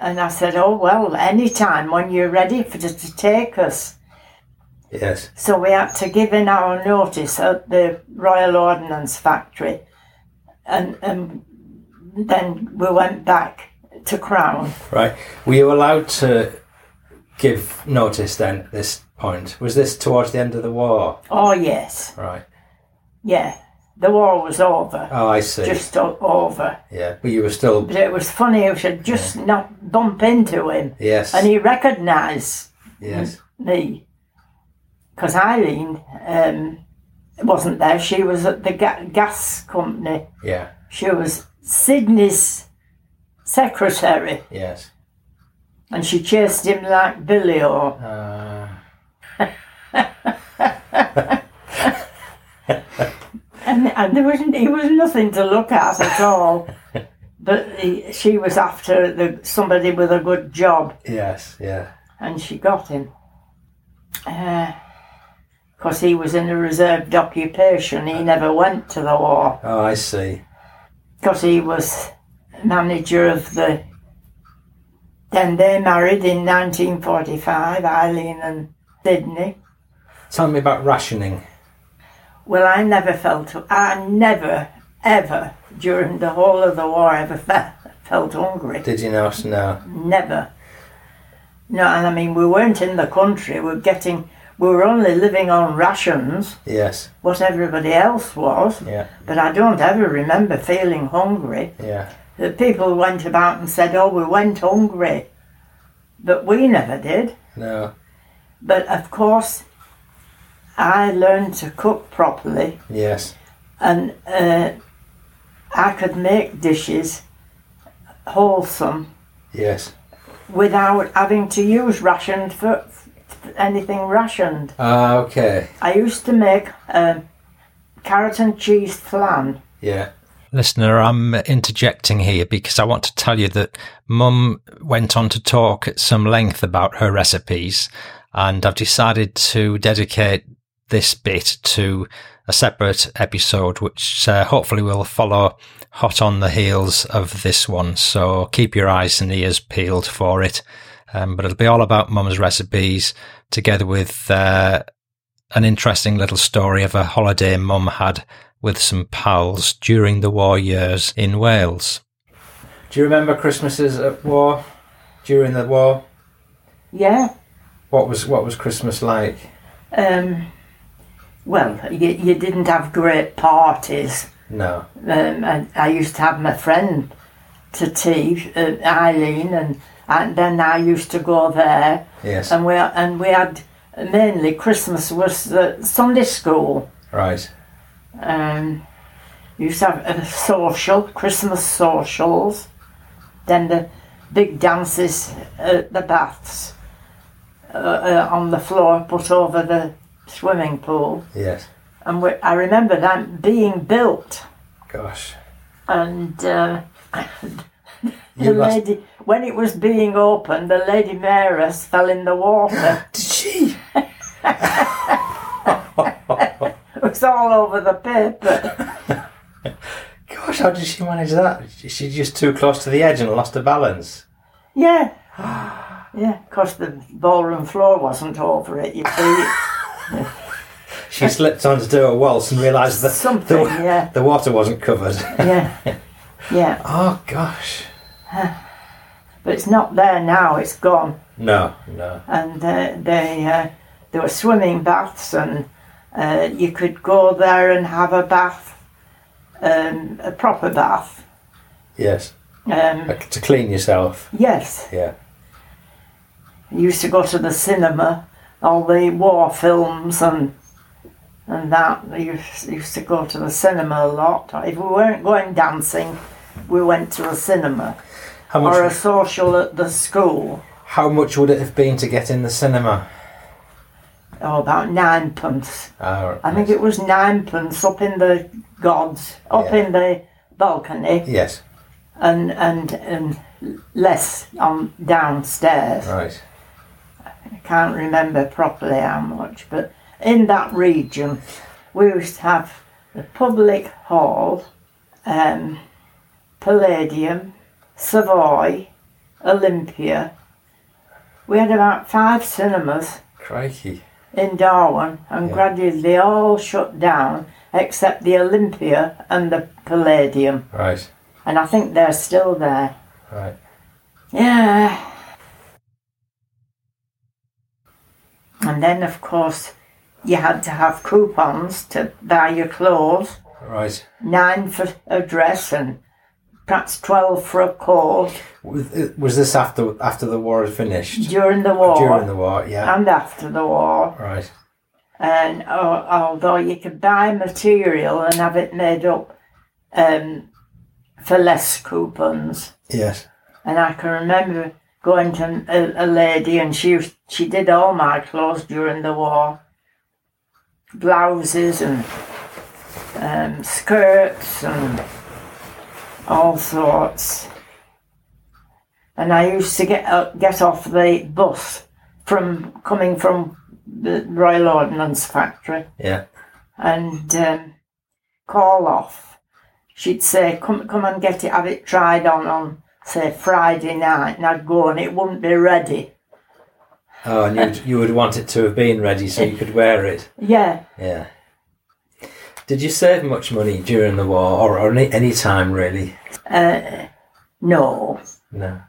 Speaker 5: And I said, Oh, well, any time when you're ready for to, to take us.
Speaker 3: Yes.
Speaker 5: So we had to give in our notice at the Royal Ordnance Factory. And, and then we went back to Crown.
Speaker 3: Right. Were you allowed to give notice then at this point? Was this towards the end of the war?
Speaker 5: Oh, yes.
Speaker 3: Right.
Speaker 5: Yeah. The war was over.
Speaker 3: Oh, I see.
Speaker 5: Just o- over.
Speaker 3: Yeah. But you were still.
Speaker 5: But it was funny, I should just not bump into him.
Speaker 3: Yes.
Speaker 5: And he recognised
Speaker 3: yes.
Speaker 5: me because Eileen um, wasn't there. She was at the ga- gas company.
Speaker 3: Yeah.
Speaker 5: She was Sydney's secretary,
Speaker 3: Yes.
Speaker 5: and she chased him like Billy or
Speaker 3: Uh,
Speaker 5: and and there wasn't he was nothing to look at at all. But he, she was after the, somebody with a good job,
Speaker 3: yes. Yeah.
Speaker 5: and she got him. Because he was in a reserved occupation, he never went to the war.
Speaker 3: Oh, I see.
Speaker 5: because he was manager of the. Then they married in 1945, Eileen and Sydney.
Speaker 3: Tell me about rationing.
Speaker 5: Well, I never felt, I never, ever, during the whole of the war, ever fe- felt hungry.
Speaker 3: Did you not? No.
Speaker 5: Never. No, and I mean, we weren't in the country, we were getting, we were only living on rations,
Speaker 3: Yes.
Speaker 5: what everybody else was,
Speaker 3: Yeah.
Speaker 5: but I don't ever remember feeling hungry.
Speaker 3: Yeah.
Speaker 5: that people went about and said, "Oh, we went hungry," but we never did.
Speaker 3: No.
Speaker 5: But of course, I learned to cook properly,
Speaker 3: Yes.
Speaker 5: and uh, I could make dishes wholesome
Speaker 3: Yes.
Speaker 5: without having to use rationed for anything rationed.
Speaker 3: Ah, okay.
Speaker 5: I used to make um carrot and cheese flan.
Speaker 3: Yeah.
Speaker 2: Listener, I'm interjecting here because I want to tell you that Mum went on to talk at some length about her recipes, and I've decided to dedicate this bit to a separate episode, which uh, hopefully will follow hot on the heels of this one. So keep your eyes and ears peeled for it. Um, but it'll be all about Mum's recipes, together with uh, an interesting little story of a holiday Mum had with some pals during the war years in Wales.
Speaker 3: Do you remember Christmases at war? During the war,
Speaker 5: Yeah.
Speaker 3: what was what was Christmas like?
Speaker 5: Um, well, you, you didn't have great parties.
Speaker 3: No.
Speaker 5: um, and I used to have my friend to tea, uh, Eileen, and, and then I used to go there,
Speaker 3: Yes.
Speaker 5: and we and we had mainly Christmas was uh, Sunday school.
Speaker 3: right.
Speaker 5: Um, you used to have a social Christmas socials, then the big dances at the baths uh, uh, on the floor, put over the swimming pool,
Speaker 3: Yes.
Speaker 5: and we, I remember that being built
Speaker 3: Gosh.
Speaker 5: and. Uh,
Speaker 3: You
Speaker 5: the
Speaker 3: must-
Speaker 5: lady, when it was being opened, the lady mayoress fell in the water.
Speaker 3: Did she?
Speaker 5: it was all over the paper.
Speaker 3: Gosh, how did she manage that? She's just too close to the edge and lost her balance.
Speaker 5: Yeah. Yeah, because the ballroom floor wasn't over it, you see.
Speaker 3: She slipped on to do a waltz and realised that
Speaker 5: Something,
Speaker 3: the,
Speaker 5: yeah.
Speaker 3: the water wasn't covered.
Speaker 5: Yeah. Yeah.
Speaker 3: oh gosh.
Speaker 5: But it's not there now, it's gone.
Speaker 3: No, no.
Speaker 5: And uh, they, uh, there were swimming baths, and uh, you could go there and have a bath, um, a proper bath.
Speaker 3: Yes.
Speaker 5: Um,
Speaker 3: Like, to clean yourself.
Speaker 5: yes.
Speaker 3: Yeah.
Speaker 5: used to go to the cinema, all the war films and and that. We used, used to go to the cinema a lot. If we weren't going dancing, we went to a cinema
Speaker 3: How
Speaker 5: or a
Speaker 3: much?
Speaker 5: social at the school.
Speaker 3: How much would it have been to get in the cinema?
Speaker 5: Oh, about ninepence.
Speaker 3: Ah,
Speaker 5: I think it was ninepence up in the gods, up
Speaker 3: Yeah.
Speaker 5: in the balcony,
Speaker 3: Yes.
Speaker 5: and and and less on downstairs.
Speaker 3: Right.
Speaker 5: I can't remember properly how much, but in that region, we used to have the Public Hall, um, Palladium, Savoy, Olympia. We had about five cinemas
Speaker 3: Crikey.
Speaker 5: in Darwin and gradually they all shut down except the Olympia and the Palladium.
Speaker 3: Right,
Speaker 5: And I think they're still there.
Speaker 3: right.
Speaker 5: Yeah. And then, of course, you had to have coupons to buy your clothes
Speaker 3: Right.
Speaker 5: nine for a dress and perhaps 12 for a coat
Speaker 3: Was uh, was this after after the war had finished?
Speaker 5: during the war
Speaker 3: During the war, yeah.
Speaker 5: and after the war.
Speaker 3: Right.
Speaker 5: and al- although you could buy material and have it made up um, for less coupons,
Speaker 3: Yes.
Speaker 5: and I can remember going to a, a lady and she was- she did all my clothes during the war, blouses and um, skirts and all sorts. And I used to get uh, get off the bus from coming from the Royal Ordnance Factory
Speaker 3: Yeah.
Speaker 5: and um, call off. She'd say, "Come, come and get it, have it tried on on say Friday night," and I'd go, and it wouldn't be ready.
Speaker 3: Oh, and you'd, you would want it to have been ready so you could wear it.
Speaker 5: Yeah,
Speaker 3: Yeah. Did you save much money during the war or, or any, any time really?
Speaker 5: uh, no,
Speaker 3: No,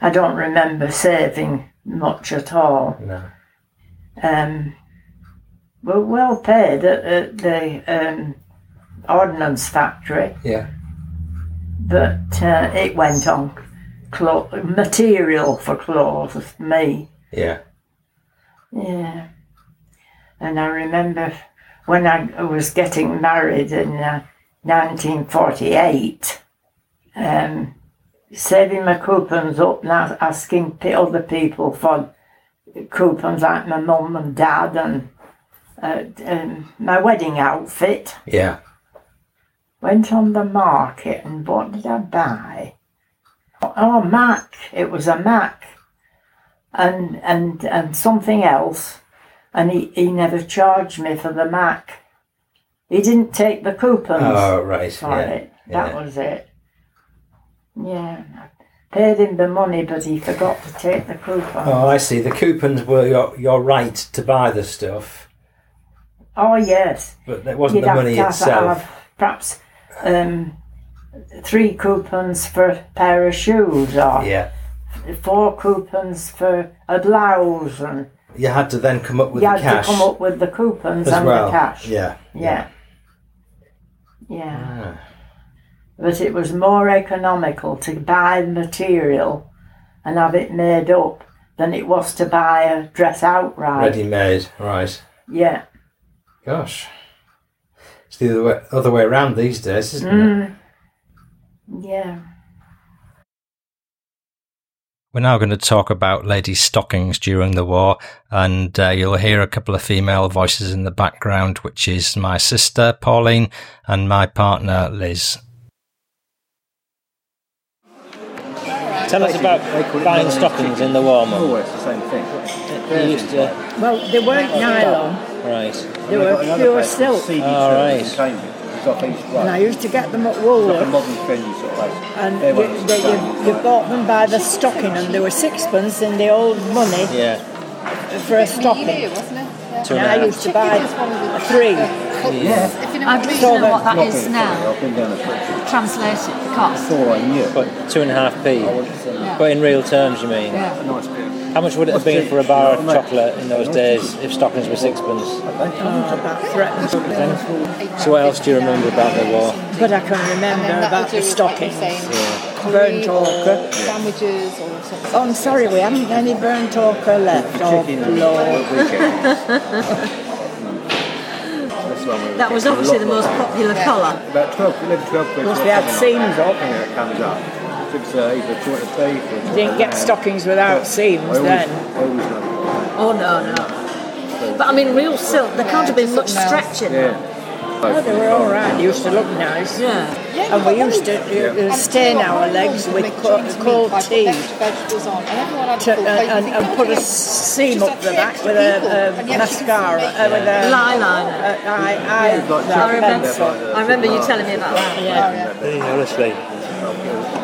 Speaker 5: I don't remember saving much at all.
Speaker 3: no.
Speaker 5: Um, we're well paid at, at the um, ordnance factory,
Speaker 3: Yeah.
Speaker 5: but uh, it went on clo- material for clothes, me.
Speaker 3: Yeah.
Speaker 5: Yeah. And I remember when I was getting married in uh, 1948, um, saving my coupons up and a- asking p- other people for coupons like my mum and dad and uh, um, my wedding outfit.
Speaker 3: Yeah.
Speaker 5: Went on the market and what did I buy? Oh, a Mac. It was a Mac. And and and something else. And he, he never charged me for the Mac. He didn't take the coupons
Speaker 3: Oh, right.
Speaker 5: for
Speaker 3: Yeah.
Speaker 5: it. That
Speaker 3: yeah.
Speaker 5: was it. Yeah. I paid him the money but he forgot to take the coupon. Oh,
Speaker 3: Oh, I see. The coupons were your, your right to buy the stuff,
Speaker 5: Oh, yes.
Speaker 3: but it wasn't the money itself.
Speaker 5: perhaps um, three coupons for a pair of shoes or
Speaker 3: Yeah.
Speaker 5: four coupons for a blouse and
Speaker 3: You had to then come up with
Speaker 5: you
Speaker 3: the
Speaker 5: had
Speaker 3: cash
Speaker 5: to come up with the coupons
Speaker 3: as
Speaker 5: and
Speaker 3: well.
Speaker 5: the cash.
Speaker 3: Yeah.
Speaker 5: Yeah. Yeah. But it was more economical to buy material and have it made up than it was to buy a dress outright.
Speaker 3: Ah, Ready made. Right.
Speaker 5: Yeah.
Speaker 3: Gosh. It's the other way, other way around these days, isn't it?
Speaker 5: Mm. Yeah.
Speaker 2: We're now going to talk about ladies' stockings during the war, and uh, you'll hear a couple of female voices in the background, which is my sister Pauline and my partner Liz.
Speaker 17: Tell us about buying stockings in the war, Mum. Always the same thing. You used to,
Speaker 5: Well, they weren't nylon,
Speaker 17: right.
Speaker 5: they were pure silk.
Speaker 17: All right.
Speaker 5: And I used to get them at Woolworths. And you, they, you, you bought them by the stocking, and they were sixpence in the old money
Speaker 17: Yeah.
Speaker 5: for a stocking.
Speaker 18: wasn't it?
Speaker 17: Two
Speaker 5: And
Speaker 17: and
Speaker 5: I
Speaker 17: a
Speaker 5: used to buy three.
Speaker 18: I'd like to know what that is now. Translate it, the cost.
Speaker 17: half. But two and a half p. But in real terms, you mean?
Speaker 18: Yeah.
Speaker 17: How much would it have been for a bar of chocolate in those days if stockings were
Speaker 5: Oh,
Speaker 17: sixpence? So what else do you remember about the war?
Speaker 5: But I can remember about the stocking. Burnt ochre.
Speaker 18: Sandwiches or something.
Speaker 5: Oh, I'm sorry, we haven't any burnt ochre left. Oh, Lord.
Speaker 19: That was obviously the most popular colour.
Speaker 20: About 12, 11, 12 quid.
Speaker 5: Must be had seams up.
Speaker 20: Something that comes up. Six, uh, either two at a tea, two at a
Speaker 5: Didn't get
Speaker 20: pound.
Speaker 5: stockings without
Speaker 20: I
Speaker 5: seams
Speaker 20: always,
Speaker 5: then.
Speaker 20: I always know.
Speaker 19: Oh no, no. But I mean, real silk. There can't have been much stretch in
Speaker 20: Yeah.
Speaker 19: that.
Speaker 5: Oh, they were all right. Used to look nice.
Speaker 19: Yeah.
Speaker 17: And we used to uh, uh, stain our legs with co- cold tea to, uh, and, and put a seam up the back with a, a mascara, uh, with a Line Uh, eye, eye, I remember. I remember you telling me about that. Yeah.
Speaker 21: Honestly.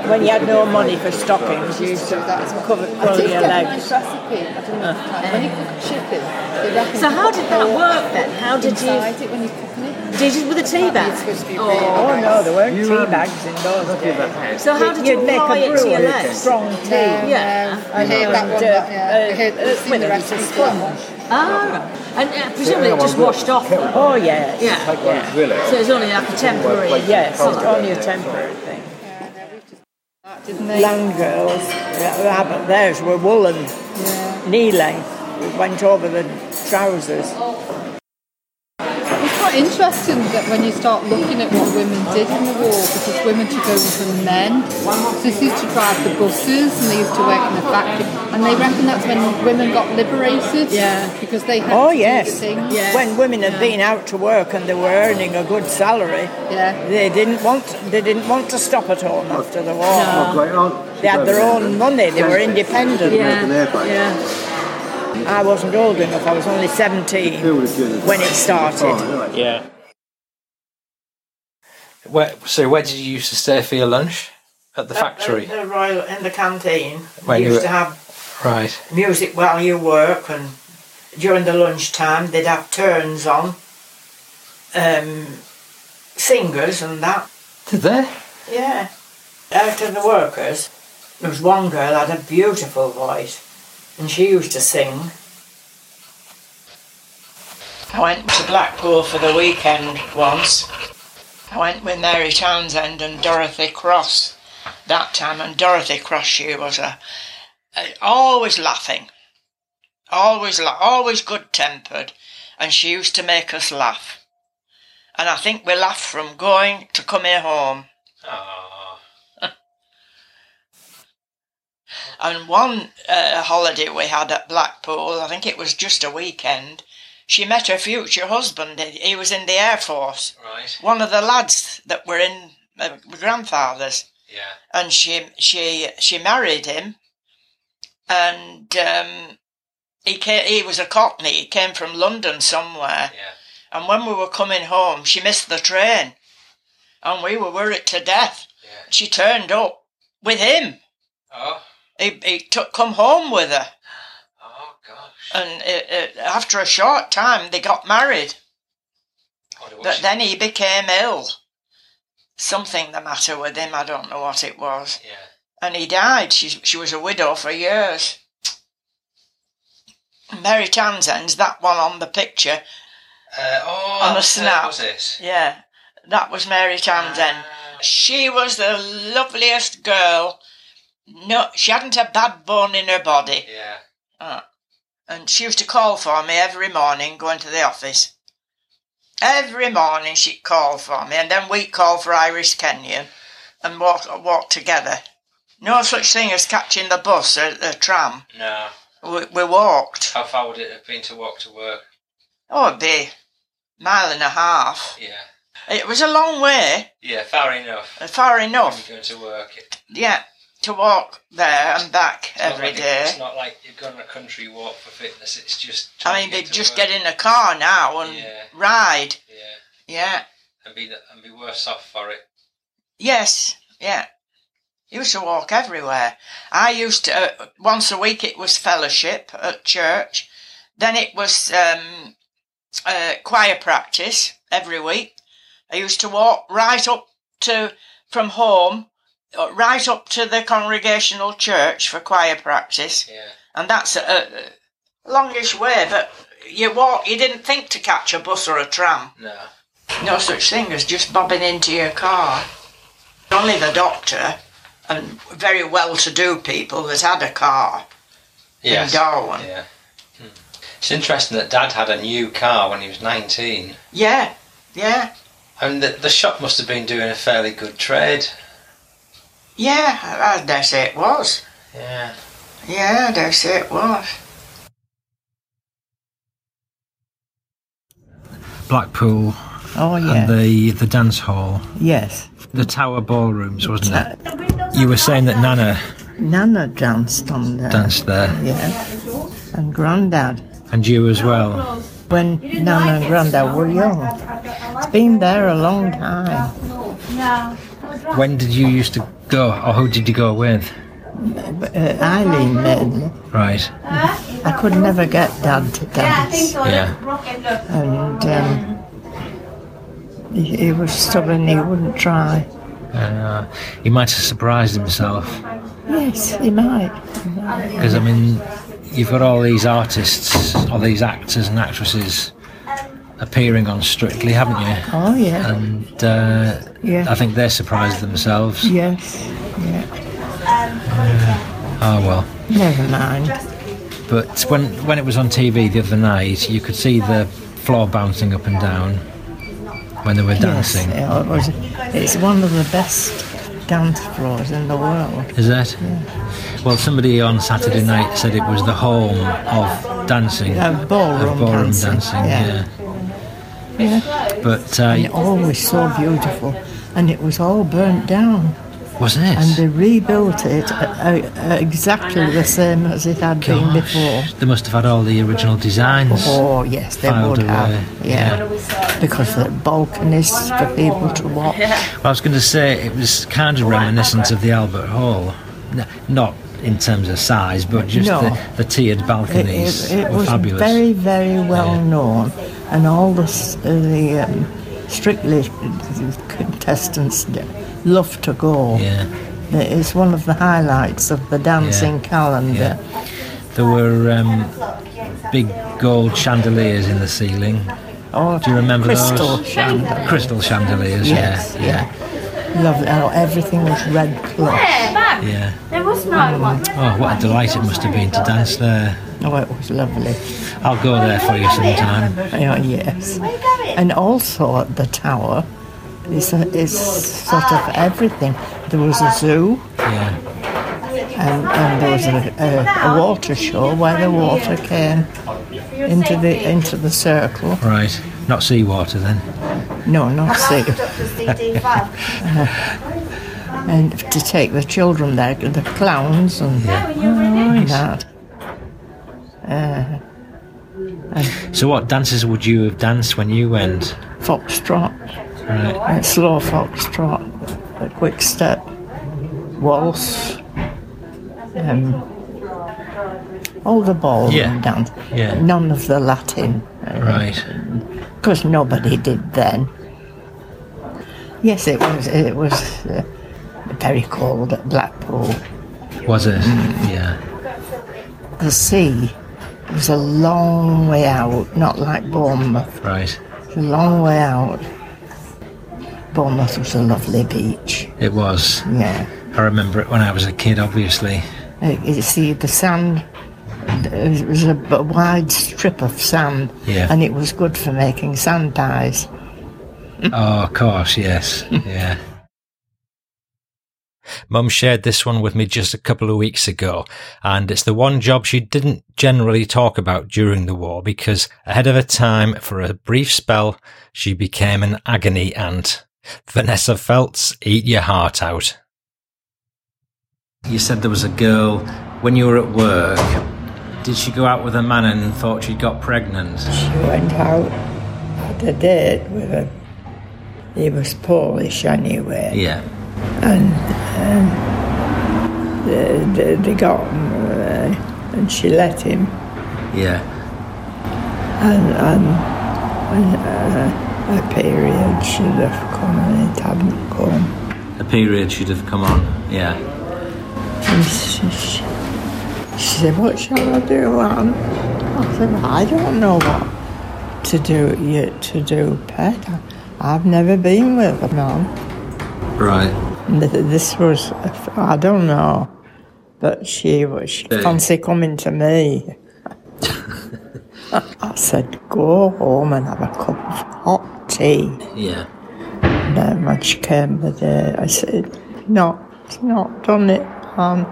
Speaker 17: When you had no money for stockings, you used to cover cover your legs.
Speaker 18: So how did that work then? How did
Speaker 17: Inside
Speaker 18: you? Did you with a tea bag?
Speaker 17: Oh no, there weren't tea bags in those
Speaker 18: house.
Speaker 17: days.
Speaker 18: So how did you
Speaker 17: You'd make
Speaker 18: apply
Speaker 17: a
Speaker 18: it to your
Speaker 17: brew
Speaker 18: legs?
Speaker 17: with strong tea?
Speaker 18: No, Yeah. no. I heard that one, but, yeah, I heard that it's in the rest of the sponge. Ah, right. and uh, presumably it just washed off.
Speaker 17: Oh yeah,
Speaker 18: Yeah. So it's only like a temporary.
Speaker 17: Yes, it's only a temporary thing. Land girls, yeah, but theirs were woolen, knee length. It went over the trousers.
Speaker 19: It's quite interesting that when you start looking at what women did in the war, because women took over from men. So they used to drive the buses and they used to work in the factory. And they reckon that's when women got liberated. Yeah. Because they had
Speaker 17: Oh
Speaker 19: to
Speaker 17: yes,
Speaker 19: do the things.
Speaker 17: when women had
Speaker 19: Yeah.
Speaker 17: been out to work and they were earning a good salary,
Speaker 19: Yeah.
Speaker 17: they didn't want they didn't want to stop at home after the war.
Speaker 19: No. Oh, great
Speaker 17: They had their own money. They were independent.
Speaker 22: Yeah,
Speaker 17: I wasn't old enough. I was only seventeen when it
Speaker 2: Oh,
Speaker 17: started.
Speaker 21: Yeah.
Speaker 2: Where, so where did you used to stay for your lunch? At
Speaker 5: Uh,
Speaker 2: the factory?
Speaker 23: The Royal in the canteen.
Speaker 2: When
Speaker 23: we
Speaker 2: you
Speaker 23: used
Speaker 2: were-
Speaker 23: to have
Speaker 2: Right.
Speaker 23: music while you work, and during the lunchtime they'd have turns on, um, singers and that.
Speaker 2: Did they?
Speaker 23: Yeah. Out of the workers, there was one girl had a beautiful voice, and she used to sing.
Speaker 5: I went to Blackpool for the weekend once. I went with Mary Townsend and Dorothy Cross that time, and Dorothy Cross, she was a, a- always laughing, always la- always good tempered, and she used to make us laugh. And I think we laughed from going to coming home. And one uh, holiday we had at Blackpool, I think it was just a weekend, she met her future husband. He he was in the Air Force.
Speaker 2: Right.
Speaker 5: One of the lads that were in uh, my grandfather's.
Speaker 2: Yeah.
Speaker 5: And she she she married him, and um, he came, he was a Cockney. He came from London somewhere.
Speaker 2: Yeah.
Speaker 5: And when we were coming home, she missed the train, and we were worried to death.
Speaker 2: Yeah.
Speaker 5: She turned up with him.
Speaker 2: Oh.
Speaker 5: He, he took come home with her,
Speaker 2: Oh gosh.
Speaker 5: and uh, uh, after a short time they got married.
Speaker 2: What,
Speaker 5: But then he became ill. Something the matter with him. I don't know what it was.
Speaker 2: Yeah.
Speaker 5: And he died. She she was a widow for years. Mary Townsend's that one on the picture
Speaker 2: Uh, oh,
Speaker 5: on the
Speaker 2: that's it,
Speaker 5: snap.
Speaker 2: was it?
Speaker 5: Yeah, that was Mary Townsend. She was the loveliest girl. No, she hadn't a bad bone in her body.
Speaker 2: Yeah.
Speaker 5: Ah. and she used to call for me every morning going to the office. Every morning she'd call for me, and then we'd call for Irish Kenyon and walk, walk together. No such thing as catching the bus or the tram.
Speaker 2: No.
Speaker 5: We, we walked.
Speaker 2: How far would it have been to walk to work?
Speaker 5: Oh, it'd be a mile and a half.
Speaker 2: Yeah.
Speaker 5: It was a long way,
Speaker 2: Yeah, far enough.
Speaker 5: uh, far
Speaker 2: If
Speaker 5: enough,
Speaker 2: you're going to work. It's
Speaker 5: yeah, to walk there and back
Speaker 2: not
Speaker 5: every
Speaker 2: like a-
Speaker 5: day.
Speaker 2: it's not like you're going on a country walk for fitness. It's just.
Speaker 5: I
Speaker 2: trying
Speaker 5: mean,
Speaker 2: to
Speaker 5: they'd
Speaker 2: to
Speaker 5: just
Speaker 2: work.
Speaker 5: get in a car now and
Speaker 2: Yeah.
Speaker 5: ride.
Speaker 2: Yeah.
Speaker 5: Yeah.
Speaker 2: And be the- and be worse off for it.
Speaker 5: Yes, yeah. Used to walk everywhere. I used to, uh, once a week it was fellowship at church. Then it was um, uh, choir practice every week. I used to walk right up to, from home, uh, right up to the congregational church for choir practice.
Speaker 2: Yeah.
Speaker 5: And that's a, a a longish way, but you walk, you didn't think to catch a bus or a tram.
Speaker 2: No.
Speaker 5: No such thing as just bobbing into your car. Only the doctor and very well to do people that had a car.
Speaker 2: Yes.
Speaker 5: Darwin.
Speaker 2: Yeah. Hmm. It's interesting that Dad had a new car when he was 19.
Speaker 5: Yeah, yeah,
Speaker 2: And the, the shop must have been doing a fairly good trade.
Speaker 5: yeah, I dare say it was.
Speaker 2: Yeah.
Speaker 5: Yeah, I dare say it was.
Speaker 24: Blackpool
Speaker 5: Oh, yeah.
Speaker 2: and the the dance hall,
Speaker 5: Yes.
Speaker 2: the Tower Ballrooms, wasn't it? You were saying that Nana
Speaker 5: Nana danced on there.
Speaker 2: danced there,
Speaker 5: Yeah. And Grandad.
Speaker 2: and you as well.
Speaker 5: When Nana and Grandad were young. It's been there a long time.
Speaker 2: When did you used to go, or who did you go with?
Speaker 5: But, uh, Eileen mainly.
Speaker 2: Right.
Speaker 5: I could never get Dad to dance.
Speaker 2: Yeah.
Speaker 5: And um, he, he was stubborn, he wouldn't try.
Speaker 2: Uh, he might have surprised himself.
Speaker 5: Yes, he might.
Speaker 2: Because I mean, you've got all these artists, all these actors and actresses appearing on Strictly, haven't you?
Speaker 5: Oh, yeah.
Speaker 2: And uh,
Speaker 5: Yeah.
Speaker 2: I think they're surprised themselves.
Speaker 5: Yes. Yeah.
Speaker 2: Oh well.
Speaker 5: Never mind.
Speaker 2: But when when it was on TV the other night, you could see the floor bouncing up and down when they were dancing.
Speaker 5: Yes, it was, it's one of the best dance floors in the world.
Speaker 2: Is that? Well, somebody on Saturday night said it was the home of dancing,
Speaker 5: Of ballroom
Speaker 2: of ballroom
Speaker 5: dancing,
Speaker 2: dancing.
Speaker 5: yeah.
Speaker 2: yeah.
Speaker 5: Yeah.
Speaker 2: But uh,
Speaker 5: And it always so beautiful. And it was all burnt down.
Speaker 2: wasn't it?
Speaker 5: And they rebuilt it uh, uh, exactly the same as it had been
Speaker 2: Gosh,
Speaker 5: before.
Speaker 2: They must have had all the original designs.
Speaker 5: Oh, yes, they
Speaker 2: filed
Speaker 5: would
Speaker 2: away,
Speaker 5: have. Yeah. Because the balconists for people to watch.
Speaker 2: Well, I was going to say it was kind of reminiscent of the Albert Hall, N- not in terms of size, but just
Speaker 5: No.
Speaker 2: the, the tiered
Speaker 5: It,
Speaker 2: balconies
Speaker 5: it, it
Speaker 2: were
Speaker 5: was
Speaker 2: fabulous.
Speaker 5: very, very well known. And all the, s- uh, the um, strictly contestants d- love to go.
Speaker 2: yeah,
Speaker 5: It's one of the highlights of the dancing calendar.
Speaker 2: yeah. There were um, big gold chandeliers in the ceiling.
Speaker 5: Oh,
Speaker 2: Do you remember
Speaker 5: crystal
Speaker 2: those?
Speaker 5: chandeliers.
Speaker 2: Crystal chandeliers.
Speaker 5: Yes,
Speaker 2: yeah, yeah,
Speaker 5: Lovely. Oh, everything was red cloth.
Speaker 2: yeah.
Speaker 25: There was no one.
Speaker 2: Oh, what a delight it must have been to dance there.
Speaker 5: Oh, it was lovely.
Speaker 2: I'll go there for you sometime.
Speaker 5: Oh, yes. And also at the tower, it's, a, it's sort of everything. There was a zoo,
Speaker 2: Yeah.
Speaker 5: and, and there was a, a, a water show where the water came into the into the circle.
Speaker 2: Right. Not seawater then.
Speaker 5: No, not sea. and to take the children there, the clowns and and that. Uh,
Speaker 2: So what dances would you have danced when you went?
Speaker 5: foxtrot,
Speaker 2: Right.
Speaker 5: uh, slow foxtrot, a quick step, waltz, um, all the ballroom
Speaker 2: Yeah.
Speaker 5: dance.
Speaker 2: Yeah.
Speaker 5: None of the Latin,
Speaker 2: Right.
Speaker 5: because nobody did then. Yes, it was. It was uh, very cold at Blackpool.
Speaker 2: Was it?
Speaker 5: Mm.
Speaker 2: Yeah.
Speaker 5: The sea was a long way out, not like Bournemouth.
Speaker 2: Right.
Speaker 5: It's a long way out. Bournemouth was a lovely beach.
Speaker 2: It was.
Speaker 5: Yeah.
Speaker 2: I remember it when I was a kid, obviously.
Speaker 5: Uh, You see, the sand, it was a b- wide strip of sand,
Speaker 2: Yeah.
Speaker 5: and it was good for making sand pies.
Speaker 2: oh, of course, yes. Yeah. Mum shared this one with me just a couple of weeks ago, and it's the one job she didn't generally talk about during the war because ahead of her time, for a brief spell, she became an agony aunt. Vanessa Feltz, eat your heart out. You said there was a girl when you were at work. Did she go out with a man and thought she got pregnant?
Speaker 5: She went out at a date with him. He was Polish anyway.
Speaker 2: Yeah.
Speaker 5: and um, they, Uh, they, they got him, uh, and she let him
Speaker 2: Yeah.
Speaker 5: and and, and uh, her period should have come and it hadn't come
Speaker 2: A period should have come on. Yeah.
Speaker 5: and she, she, she said what shall I do Anne I said "Well, I don't know what to do yet to do pet I, I've never been with a man
Speaker 2: Right.
Speaker 5: And th- This was, I don't know, but she was, she
Speaker 2: Yeah.
Speaker 5: fancy coming to me. I said, go home and have a cup of hot tea.
Speaker 2: Yeah.
Speaker 5: And then when she came the day, I said, no, it's not done it, Mum.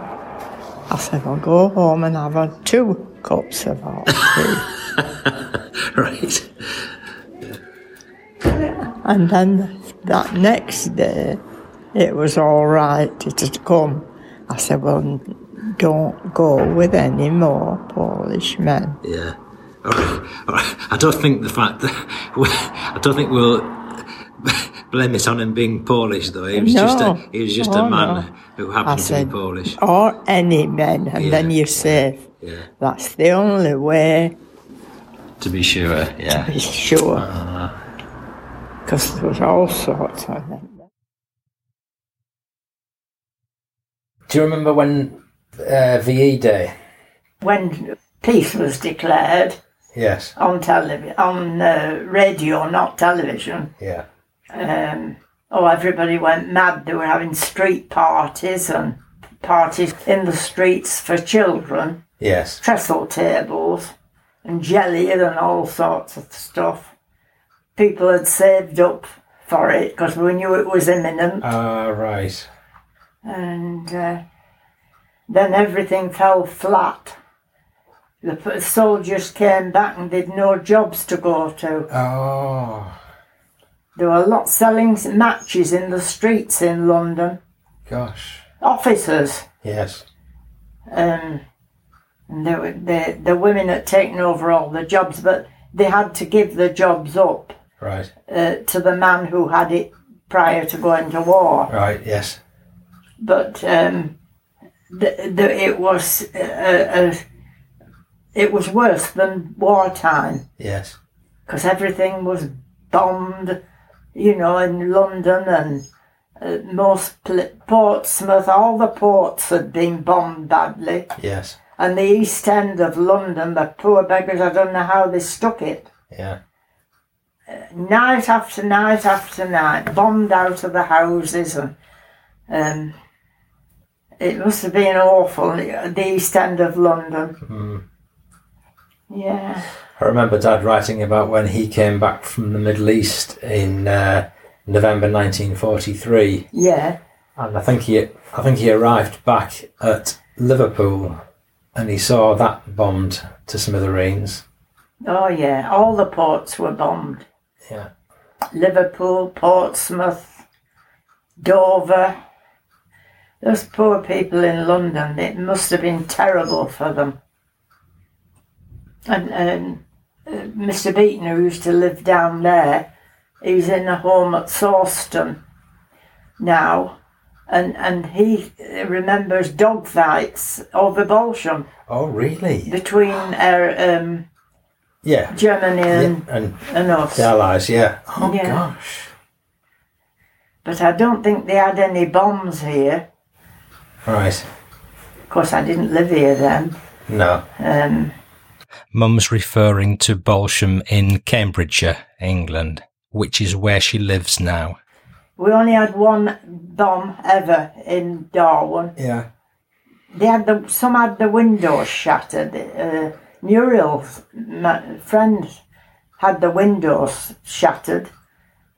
Speaker 5: I said, well, go home and have a two cups of hot tea.
Speaker 2: right.
Speaker 5: And then that next day, it was all right. It had come. I said, well, don't go with any more Polish men.
Speaker 2: Yeah. All right. All right. I don't think the fact that we, I don't think we'll blame it on him being Polish though. He was
Speaker 5: No.
Speaker 2: just a he was just
Speaker 5: Oh,
Speaker 2: a man
Speaker 5: no.
Speaker 2: who
Speaker 5: I
Speaker 2: happened to
Speaker 5: said,
Speaker 2: be Polish.
Speaker 5: Or any men, and
Speaker 2: Yeah,
Speaker 5: then you're safe.
Speaker 2: Yeah.
Speaker 5: That's the only way
Speaker 2: To be sure. Yeah.
Speaker 5: to be sure. Because there was all sorts of them.
Speaker 3: Do you remember when uh, VE Day?
Speaker 5: When peace was declared
Speaker 3: Yes.
Speaker 5: on television, on uh, radio, not television,
Speaker 3: Yeah.
Speaker 5: um, oh, everybody went mad. They were having street parties and parties in the streets for children,
Speaker 3: Yes.
Speaker 5: trestle tables, and jelly and all sorts of stuff. People had saved up for it because we knew it was imminent.
Speaker 3: Ah, right.
Speaker 5: and uh, then everything fell flat. The p- soldiers came back and did no jobs to go to.
Speaker 3: Oh,
Speaker 5: There were a lot selling s- matches in the streets in London.
Speaker 3: gosh.
Speaker 5: Officers,
Speaker 3: Yes.
Speaker 5: um, and they, were- they, the women had taken over all the jobs, but they had to give the jobs up
Speaker 3: Right.
Speaker 5: uh, to the man who had it prior to going to war.
Speaker 3: Right. Yes.
Speaker 5: but um, the, the, it was uh, uh, it was worse than wartime
Speaker 3: Yes.
Speaker 5: because everything was bombed, you know, in London and uh, most pl- Portsmouth, all the ports had been bombed badly,
Speaker 3: Yes.
Speaker 5: and the East End of London, the poor beggars, I don't know how they stuck it.
Speaker 3: Yeah.
Speaker 5: night after night after night, bombed out of the houses, and um, it must have been awful. The East End of London.
Speaker 3: Mm.
Speaker 5: Yeah.
Speaker 3: I remember Dad writing about when he came back from the Middle East in uh, November 1943,
Speaker 5: Yeah.
Speaker 3: and I think he, I think he arrived back at Liverpool, and he saw that bombed to smithereens.
Speaker 5: Oh, yeah. All the ports were bombed.
Speaker 3: Yeah.
Speaker 5: Liverpool, Portsmouth, Dover. Those poor people in London, it must have been terrible for them. And, and uh, Mr. Beaton, who used to live down there, he's in a home at Sawston now, and, and he uh, remembers dog fights over Bolsham
Speaker 3: Oh, really?
Speaker 5: between uh, um,
Speaker 3: Yeah.
Speaker 5: Germany and,
Speaker 3: yeah. And
Speaker 5: and us.
Speaker 3: the Allies, yeah. Oh,
Speaker 5: Um, Yeah.
Speaker 3: gosh.
Speaker 5: But I don't think they had any bombs here.
Speaker 3: Right.
Speaker 5: Of course, I didn't live here then.
Speaker 3: No.
Speaker 5: Um,
Speaker 2: Mum's referring to Bolsham in Cambridgeshire, England, which is where she lives now.
Speaker 5: we only had one bomb ever in Darwin.
Speaker 3: Yeah.
Speaker 5: They had the some had the windows shattered. Uh, Muriel's my friend had the windows shattered,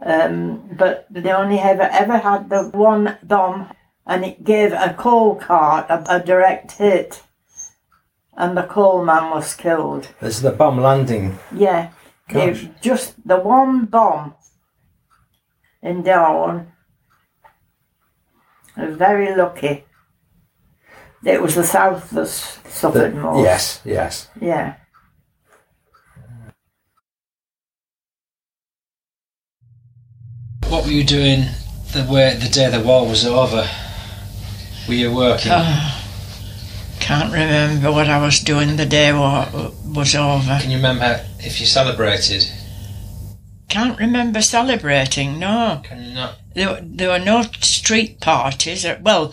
Speaker 5: um, but they only ever ever had the one bomb, and it gave a coal cart a, a direct hit, and the coal man was killed.
Speaker 3: There's the bomb landing.
Speaker 5: Yeah. They-
Speaker 3: Gosh.
Speaker 5: Just the one bomb in Darwin. They're Very lucky. It was the South that s- suffered
Speaker 3: The-
Speaker 5: most.
Speaker 3: yes, yes.
Speaker 5: Yeah.
Speaker 26: What were you doing the way the day the war was over? Were you working?
Speaker 27: Ah, can't remember what I was doing the day war was over.
Speaker 26: Can you remember if you celebrated?
Speaker 27: Can't remember celebrating, no.
Speaker 26: Can you not?
Speaker 27: There, were- there were no street parties. Or, well,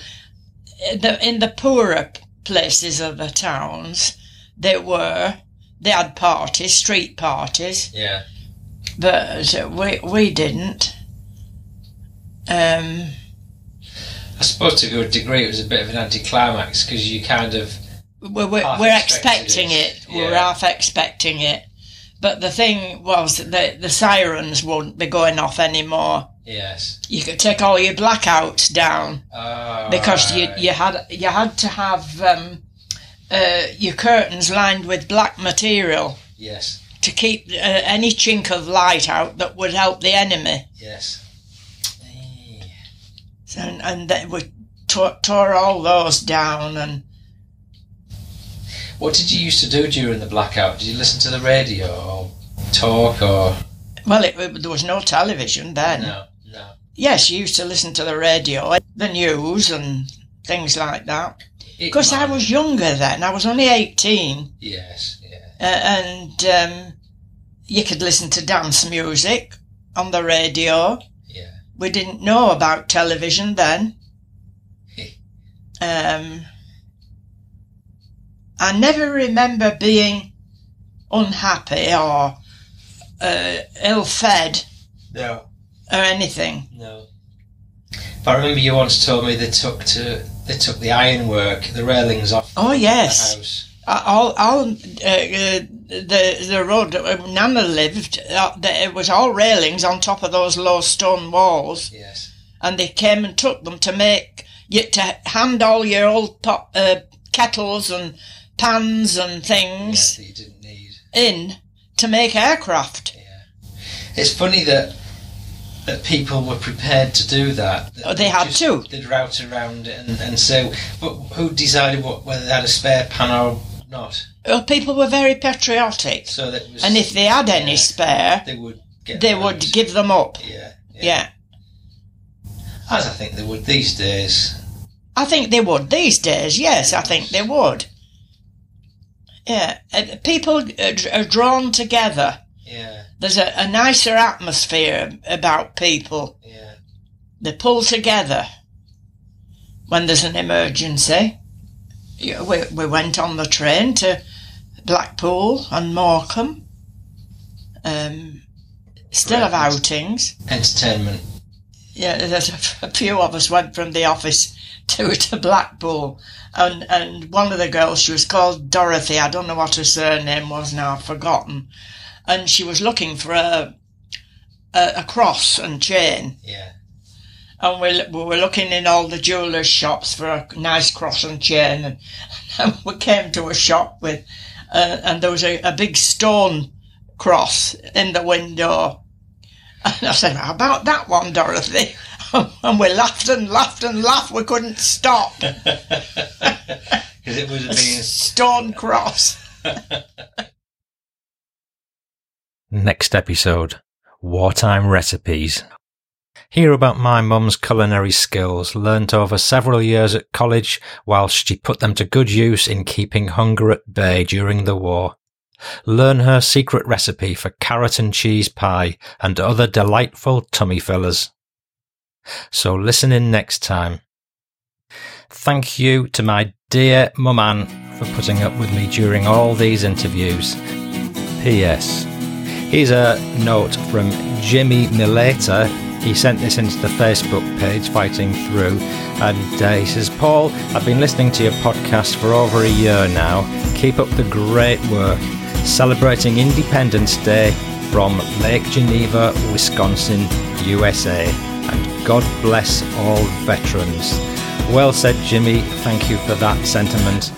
Speaker 27: in the, in the poorer places of the towns, there were. They had parties, street parties,
Speaker 26: Yeah.
Speaker 27: but uh, we, we didn't. Um,
Speaker 26: I suppose to a good degree it was a bit of an anticlimax because you kind of
Speaker 27: we're, we're,
Speaker 26: Half
Speaker 27: we're
Speaker 26: expected
Speaker 27: expecting
Speaker 26: it,
Speaker 27: it. We're
Speaker 26: yeah.
Speaker 27: half expecting it. But the thing was that the sirens wouldn't be going off anymore.
Speaker 26: yes.
Speaker 27: You could take all your blackouts down
Speaker 26: Ah,
Speaker 27: because you, you had you had to have um, uh, your curtains lined with black material
Speaker 26: yes.
Speaker 27: to keep uh, any chink of light out that would help the enemy.
Speaker 26: Yes.
Speaker 27: So, and, and they we tore, tore all those down and
Speaker 26: What did you used to do during the blackout? Did you listen to the radio or talk or
Speaker 27: well, it, it- there was no television then.
Speaker 26: no? No.
Speaker 27: Yes, you used to listen to the radio, the news, and things like that.
Speaker 26: It
Speaker 27: Because I was younger then; I was only eighteen,
Speaker 26: Yes. Yeah.
Speaker 27: uh, and um, you could listen to dance music on the radio.
Speaker 26: Yeah.
Speaker 27: We didn't know about television then. um, I never remember being unhappy or uh, ill-fed
Speaker 26: No.
Speaker 27: or anything.
Speaker 26: No. But I remember you once told me they took to they took the ironwork, the railings off.
Speaker 27: Oh
Speaker 26: The house.
Speaker 27: yes, Uh, all all uh, uh, the the road that where Nana lived, uh, the, it was all railings on top of those low stone walls,
Speaker 26: Yes.
Speaker 27: and they came and took them to make you to hand all your old pot, uh, kettles and pans and things
Speaker 26: That you didn't need.
Speaker 27: in to make aircraft.
Speaker 26: It's funny that that people were prepared to do that.
Speaker 27: Oh, they had
Speaker 26: Just-
Speaker 27: to.
Speaker 26: They'd route around it and, and so. But who decided what whether they had a spare pan or not?
Speaker 27: Uh, people were very patriotic,
Speaker 26: So that was.
Speaker 27: and if they had any spare,
Speaker 26: they would get
Speaker 27: they
Speaker 26: around.
Speaker 27: would give them up.
Speaker 26: Yeah.
Speaker 27: yeah.
Speaker 26: As I think they would these days.
Speaker 27: I think they would these days. Yes, I think they would. Yeah, uh, people are dr- are drawn together.
Speaker 26: Yeah.
Speaker 27: There's a, a nicer atmosphere about people. Yeah. They pull together when there's an emergency. Yeah, We, we went on the train to Blackpool and Morecambe. Um, still have outings.
Speaker 26: Entertainment.
Speaker 27: Yeah, there's a, a few of us went from the office to to Blackpool, and and one of the girls she was called Dorothy. I don't know what her surname was now. I've forgotten, and she was looking for a a, a cross and chain.
Speaker 26: Yeah.
Speaker 27: And we, we were looking in all the jewellers' shops for a nice cross and chain, and, and we came to a shop with, uh, and there was a, a big stone cross in the window. And I said, How about that one, Dorothy? and we laughed and laughed and laughed. We couldn't stop.
Speaker 26: Because it would have been.
Speaker 27: Stone cross.
Speaker 2: Next episode Wartime Recipes. Hear about my mum's culinary skills learnt over several years at college whilst she put them to good use in keeping hunger at bay during the war. Learn her secret recipe for carrot and cheese pie and other delightful tummy fillers. So listen in next time. Thank you to my dear mum Ann for putting up with me during all these interviews. P.S. Here's a note from Jimmy Mileta. He sent this into the Facebook page, Fighting Through, and uh, he says, Paul, I've been listening to your podcast for over a year now. Keep up the great work. Celebrating Independence Day from Lake Geneva, Wisconsin, USA. And God bless all veterans. Well said, Jimmy. Thank you for that sentiment.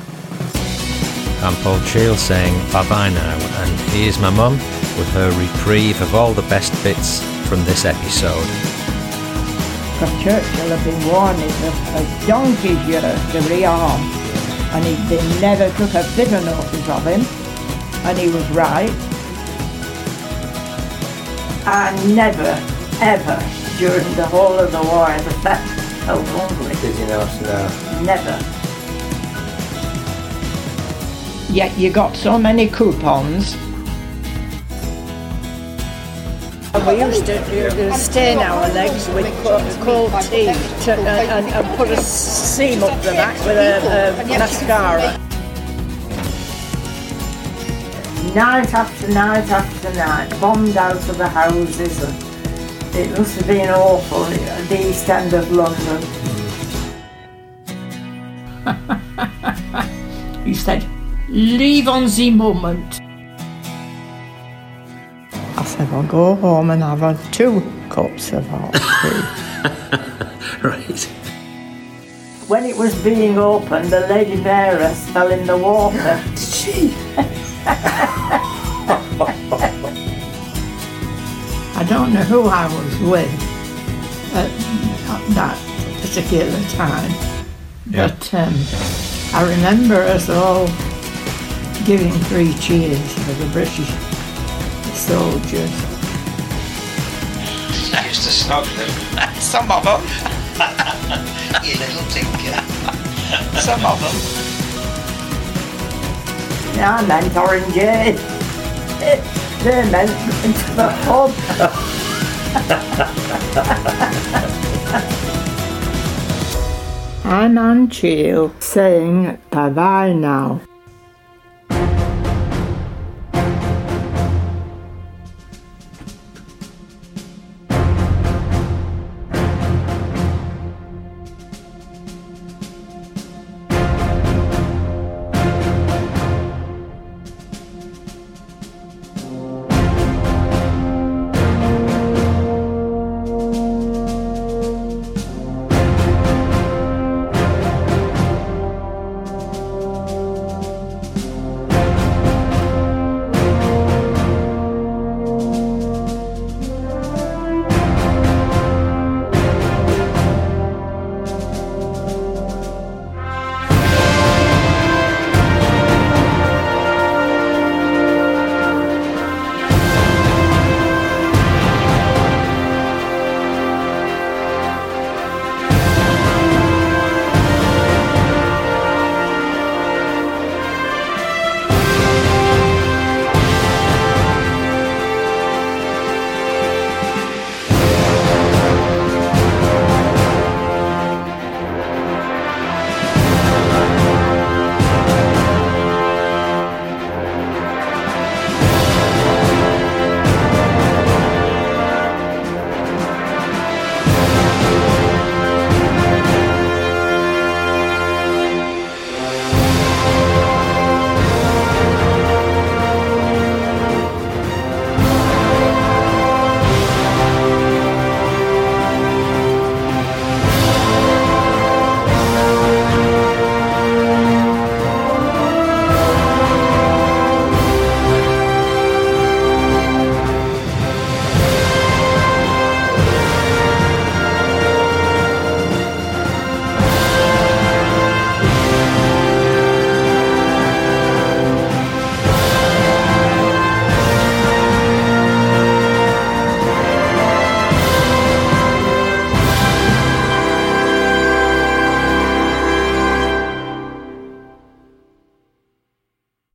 Speaker 2: I'm Paul Cheel saying bye bye now, and here's my mum with her reprieve of all the best bits from this episode.
Speaker 1: Because Churchill had been warning us a donkey's year to rearm, and he they never took a bit of notice of him, and he was right.
Speaker 5: I never, ever, during the whole of the war, ever felt so
Speaker 1: oh,
Speaker 5: hungry.
Speaker 3: Did you not? No.
Speaker 5: Never.
Speaker 1: Yet you got so many coupons.
Speaker 19: And we used to uh, stain our legs with co- cold tea to, uh, and, and, and put a seam up the back with
Speaker 5: uh,
Speaker 19: a, a mascara.
Speaker 5: Night after night after night, bombed out of the houses. And it must have been awful, the east end of London.
Speaker 1: He said, leave on the moment. I said, I'll go home and have uh, two cups of hot tea.
Speaker 25: right.
Speaker 5: When it was being opened, the Lady Mayoress fell in the water. Did she? don't know who I was with at that particular time,
Speaker 28: Yeah.
Speaker 5: but um, I remember us all giving three cheers for the British soldiers.
Speaker 29: I used to snog them.
Speaker 30: Some of them. you little tinker. Some of them.
Speaker 31: Yeah, I meant
Speaker 5: er
Speaker 31: oranges. They meant the pub.
Speaker 5: I'm Ann Cheel saying bye bye now.